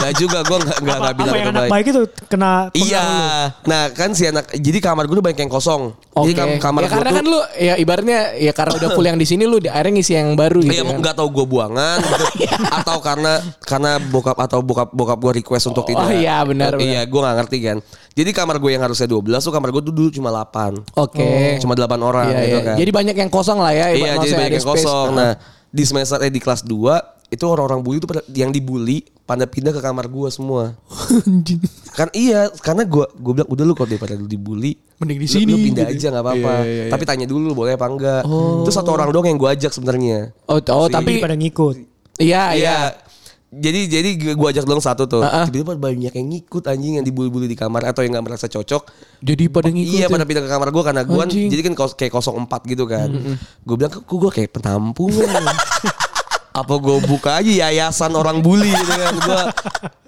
S2: nggak juga. Gue nggak nggak nggak
S3: Apa
S2: bilang
S3: yang
S2: itu
S3: anak
S2: baik.
S3: baik itu kena pengaruh
S2: Iya.
S3: lu.
S2: Nah kan si anak, jadi kamar gue tuh banyak yang kosong. Jadi
S1: Oke.
S2: kam- kamar
S1: ya
S2: gue
S1: karena
S2: tuh
S1: kan lu ya ibaratnya ya karena udah full yang di sini lu di akhirnya ngisi yang baru gitu.
S2: Iya,
S1: kan.
S2: nggak tahu gue buangan gitu.
S1: Iya.
S2: atau karena karena bokap atau bokap bokap gue request
S1: Oh,
S2: untuk tidak.
S1: iya, benar,
S2: Iya, gue nggak ngerti kan. Jadi kamar gue yang harusnya 12 tuh kamar gue tuh dulu cuma 8.
S1: Oke.
S2: Oh, Cuma 8 orang
S1: Iya,
S2: gitu
S1: iya.
S2: kan.
S1: Jadi banyak yang kosong lah ya.
S2: iya, jadi
S1: maksudnya
S2: banyak
S1: ada
S2: yang
S1: space.
S2: kosong. Nah, di semester eh di kelas 2 itu orang-orang bully itu pada- yang dibully pada pindah ke kamar gue semua.
S1: Anjing.
S2: Kan iya, karena gue gue bilang udah lu kalau daripada lu dibully
S1: Mending di
S2: lu-
S1: sini,
S2: Lu, pindah
S1: gitu.
S2: aja nggak apa-apa.
S1: Iya, iya, Oh. iya.
S2: Tapi tanya dulu boleh apa enggak. Terus satu orang doang yang gue ajak sebenarnya.
S1: Oh, oh
S2: Si-
S1: tapi
S3: Daripada ngikut.
S1: iya iya.
S2: Iya. Jadi jadi gue ajak dong satu tuh.
S1: Ah, ah.
S2: Tiba-tiba banyak yang ngikut anjing yang dibully-bully di kamar atau yang nggak merasa cocok.
S1: Jadi pada ngikut. ya?
S2: Iya pada pindah ke kamar gue karena gue
S1: Anjing.
S2: jadi kan kos- kayak 04 gitu kan. Gue bilang kok gue kayak penampung. ya?" Apa gue buka aja yayasan orang bully gitu kan Gue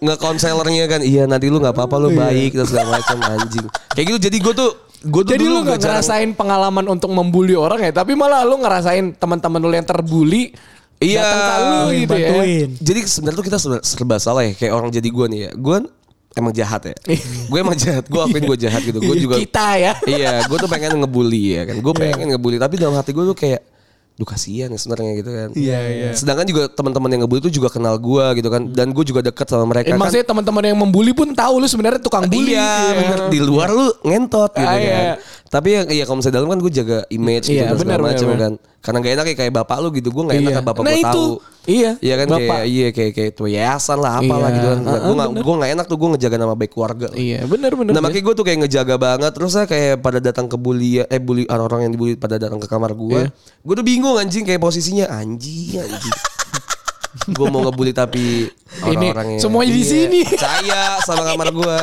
S2: ngekonselernya kan Iya nanti lu gak apa-apa lu baik dan segala macam anjing Kayak gitu jadi gue tuh gua tuh
S1: Jadi
S2: dulu
S1: lu gak
S2: jarang-
S1: ngerasain pengalaman untuk membuli orang ya, tapi malah lu ngerasain teman-teman lu yang terbuli
S2: Iya.
S1: datang ke lu
S2: Oh,
S1: gitu ya.
S3: bantuin.
S2: Jadi sebenarnya tuh kita serba, serba salah ya kayak orang jadi gue nih ya. Gue emang jahat ya. gue emang jahat. Gue akuin gue jahat gitu. Gue juga
S1: Kita Iya. ya.
S2: iya, gue tuh pengen ngebully ya kan. Gue pengen ngebully tapi dalam hati gue tuh kayak duh kasihan ya sebenarnya gitu kan.
S1: Iya, iya.
S2: Sedangkan juga teman-teman yang ngebully tuh juga kenal gue gitu kan dan gue juga dekat sama
S1: Eh,
S2: mereka kan.
S1: maksudnya teman-teman yang membuli pun tahu lu sebenarnya tukang bully.
S2: Iya,
S1: Iya.
S2: bener. Di luar lu ngentot gitu
S1: Ah,
S2: kan.
S1: iya.
S2: Tapi yang iya kalau misalnya dalam kan gue jaga image gitu
S1: Iya,
S2: dan segala
S1: bener,
S2: macam
S1: bener.
S2: kan. Karena gak enak ya kayak bapak lu gitu, gue gak enak
S1: Iya.
S2: kan bapak
S1: Nah,
S2: gue
S1: itu.
S2: tahu.
S1: Iya,
S2: Iya kan
S1: bapak.
S2: kayak iya kayak kayak tuh yayasan lah apalah
S1: Iya.
S2: gitu kan.
S1: Ah,
S2: gue gak gue gak enak tuh gue ngejaga nama baik keluarga.
S1: Iya, benar-benar.
S2: Nah makanya gue tuh kayak ngejaga banget Terus saya kayak pada datang ke bully Eh bully orang-orang yang
S1: Iya.
S2: dibully pada datang ke kamar gue Gue tuh bingung anjing kayak posisinya Anjing anjing gue mau ngebully tapi orang-orangnya
S1: semuanya di
S2: Iya,
S1: sini.
S2: saya sama kamar gue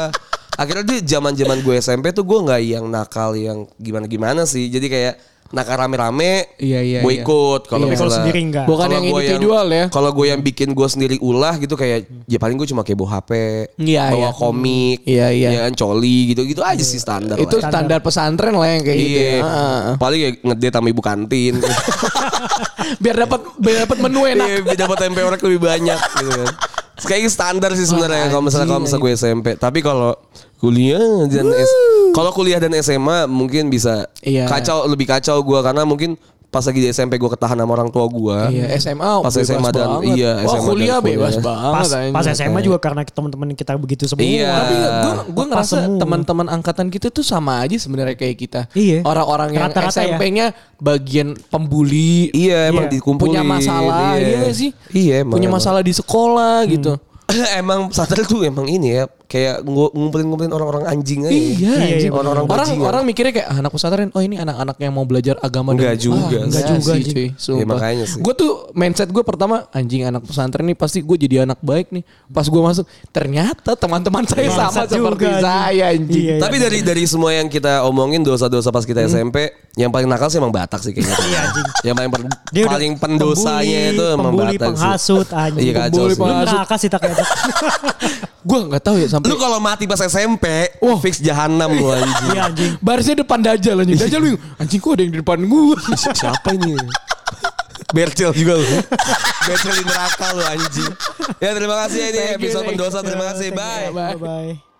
S2: akhirnya di zaman zaman gue SMP tuh gue nggak yang nakal yang gimana gimana sih jadi kayak nakal rame-rame
S1: Iya, iya,
S2: gue
S1: iya.
S2: ikut kalau
S3: Tapi kalau
S2: misalnya-
S3: sendiri enggak.
S1: Bukan
S2: kalau
S1: yang
S2: gua
S1: individual ya.
S2: kalau gue yang bikin gue sendiri ulah gitu kayak ya paling gue cuma kepo HP
S1: Iya,
S2: bawa
S1: iya.
S2: komik
S1: Iya, iya.
S2: ya kan, coli gitu gitu aja sih standar
S1: Itu
S2: lah.
S1: standar pesantren lah yang kayak gitu.
S2: Iya,
S1: ya. Ah, ah, ah.
S2: paling ya ngedate sama ibu kantin.
S1: Biar dapat biar dapat menu enak.
S2: Iya, biar dapat tempe orek lebih banyak gitu kan. Kayaknya standar sih sebenarnya kalau misalnya kalau misalnya gue SMP. Tapi kalau kuliah dan S- kalau kuliah dan SMA mungkin bisa
S1: Iya.
S2: kacau lebih kacau gue karena mungkin pas lagi di SMP gue ketahan sama orang tua gue.
S1: Iya, SMA
S2: Pas
S1: bebas
S2: SMA dan-
S1: banget.
S2: iya,
S1: Wah,
S2: SMA dan
S1: kuliah bebas
S2: kuliah.
S1: banget
S3: Pas, pas
S1: anjing.
S3: SMA juga karena teman-teman kita begitu semua.
S2: Iya.
S1: Tapi gue
S3: Pas
S1: ngerasa
S3: semua.
S1: teman-teman angkatan kita tuh sama aja sebenarnya kayak kita.
S3: Iya.
S1: Orang-orang yang
S3: Rata-rata ya.
S1: SMP-nya bagian pembuli,
S2: Iya emang
S3: Iya.
S2: dikumpulin.
S1: punya masalah, iya nggak sih.
S2: Iya emang.
S1: Punya
S2: emang.
S1: masalah di sekolah gitu.
S2: emang sadar tuh emang ini ya kayak ngu- ngumpulin-ngumpulin orang-orang anjing aja. ya.
S1: Iya,
S3: Iya,
S1: anjing.
S3: iya,
S1: orang-orang
S2: bener-bener.
S1: orang,
S2: Bajingan.
S1: orang mikirnya kayak ah, anak pesantren, oh ini anak-anak yang mau belajar agama.
S2: Enggak juga
S1: Ah, enggak
S2: sih.
S1: juga
S3: Iya
S1: sih,
S3: sih.
S1: cuy.
S2: Iya, makanya sih.
S1: Gue tuh mindset gue pertama anjing anak pesantren nih pasti gue jadi anak baik nih. Pas gue masuk, ternyata teman-teman saya sama
S3: Bangsat
S1: seperti
S3: juga, anjing.
S1: saya anjing.
S3: Iya, Hmm. iya.
S2: Tapi dari dari semua yang kita omongin dosa-dosa pas kita SMP, yang paling nakal sih emang Batak sih kayaknya. yang paling per-
S3: Iya, Dia udah
S2: paling pendosanya
S3: pembuli,
S2: itu emang
S3: pembuli,
S2: Batak sih.
S3: penghasut anjing.
S2: Iya, kacau
S3: Pembuli,
S2: sih.
S3: Lu
S1: penghasut.
S3: neraka sih tak kayak
S1: Gue nggak tahu ya sampai
S2: Lu kalau mati pas SMP,
S1: Wah.
S2: fix jahanam lu anjing.
S3: Iya anjing.
S1: barisnya depan Dajjal anjing. Dajjal lu anjing kok ada yang di depan gue.
S2: Siapa ini? Bercel juga lu. Bercel di neraka lu anjing. Ya terima kasih ini
S1: Thank you,
S2: episode
S1: thank you.
S2: pendosa. Terima kasih. Bye.
S3: Bye bye.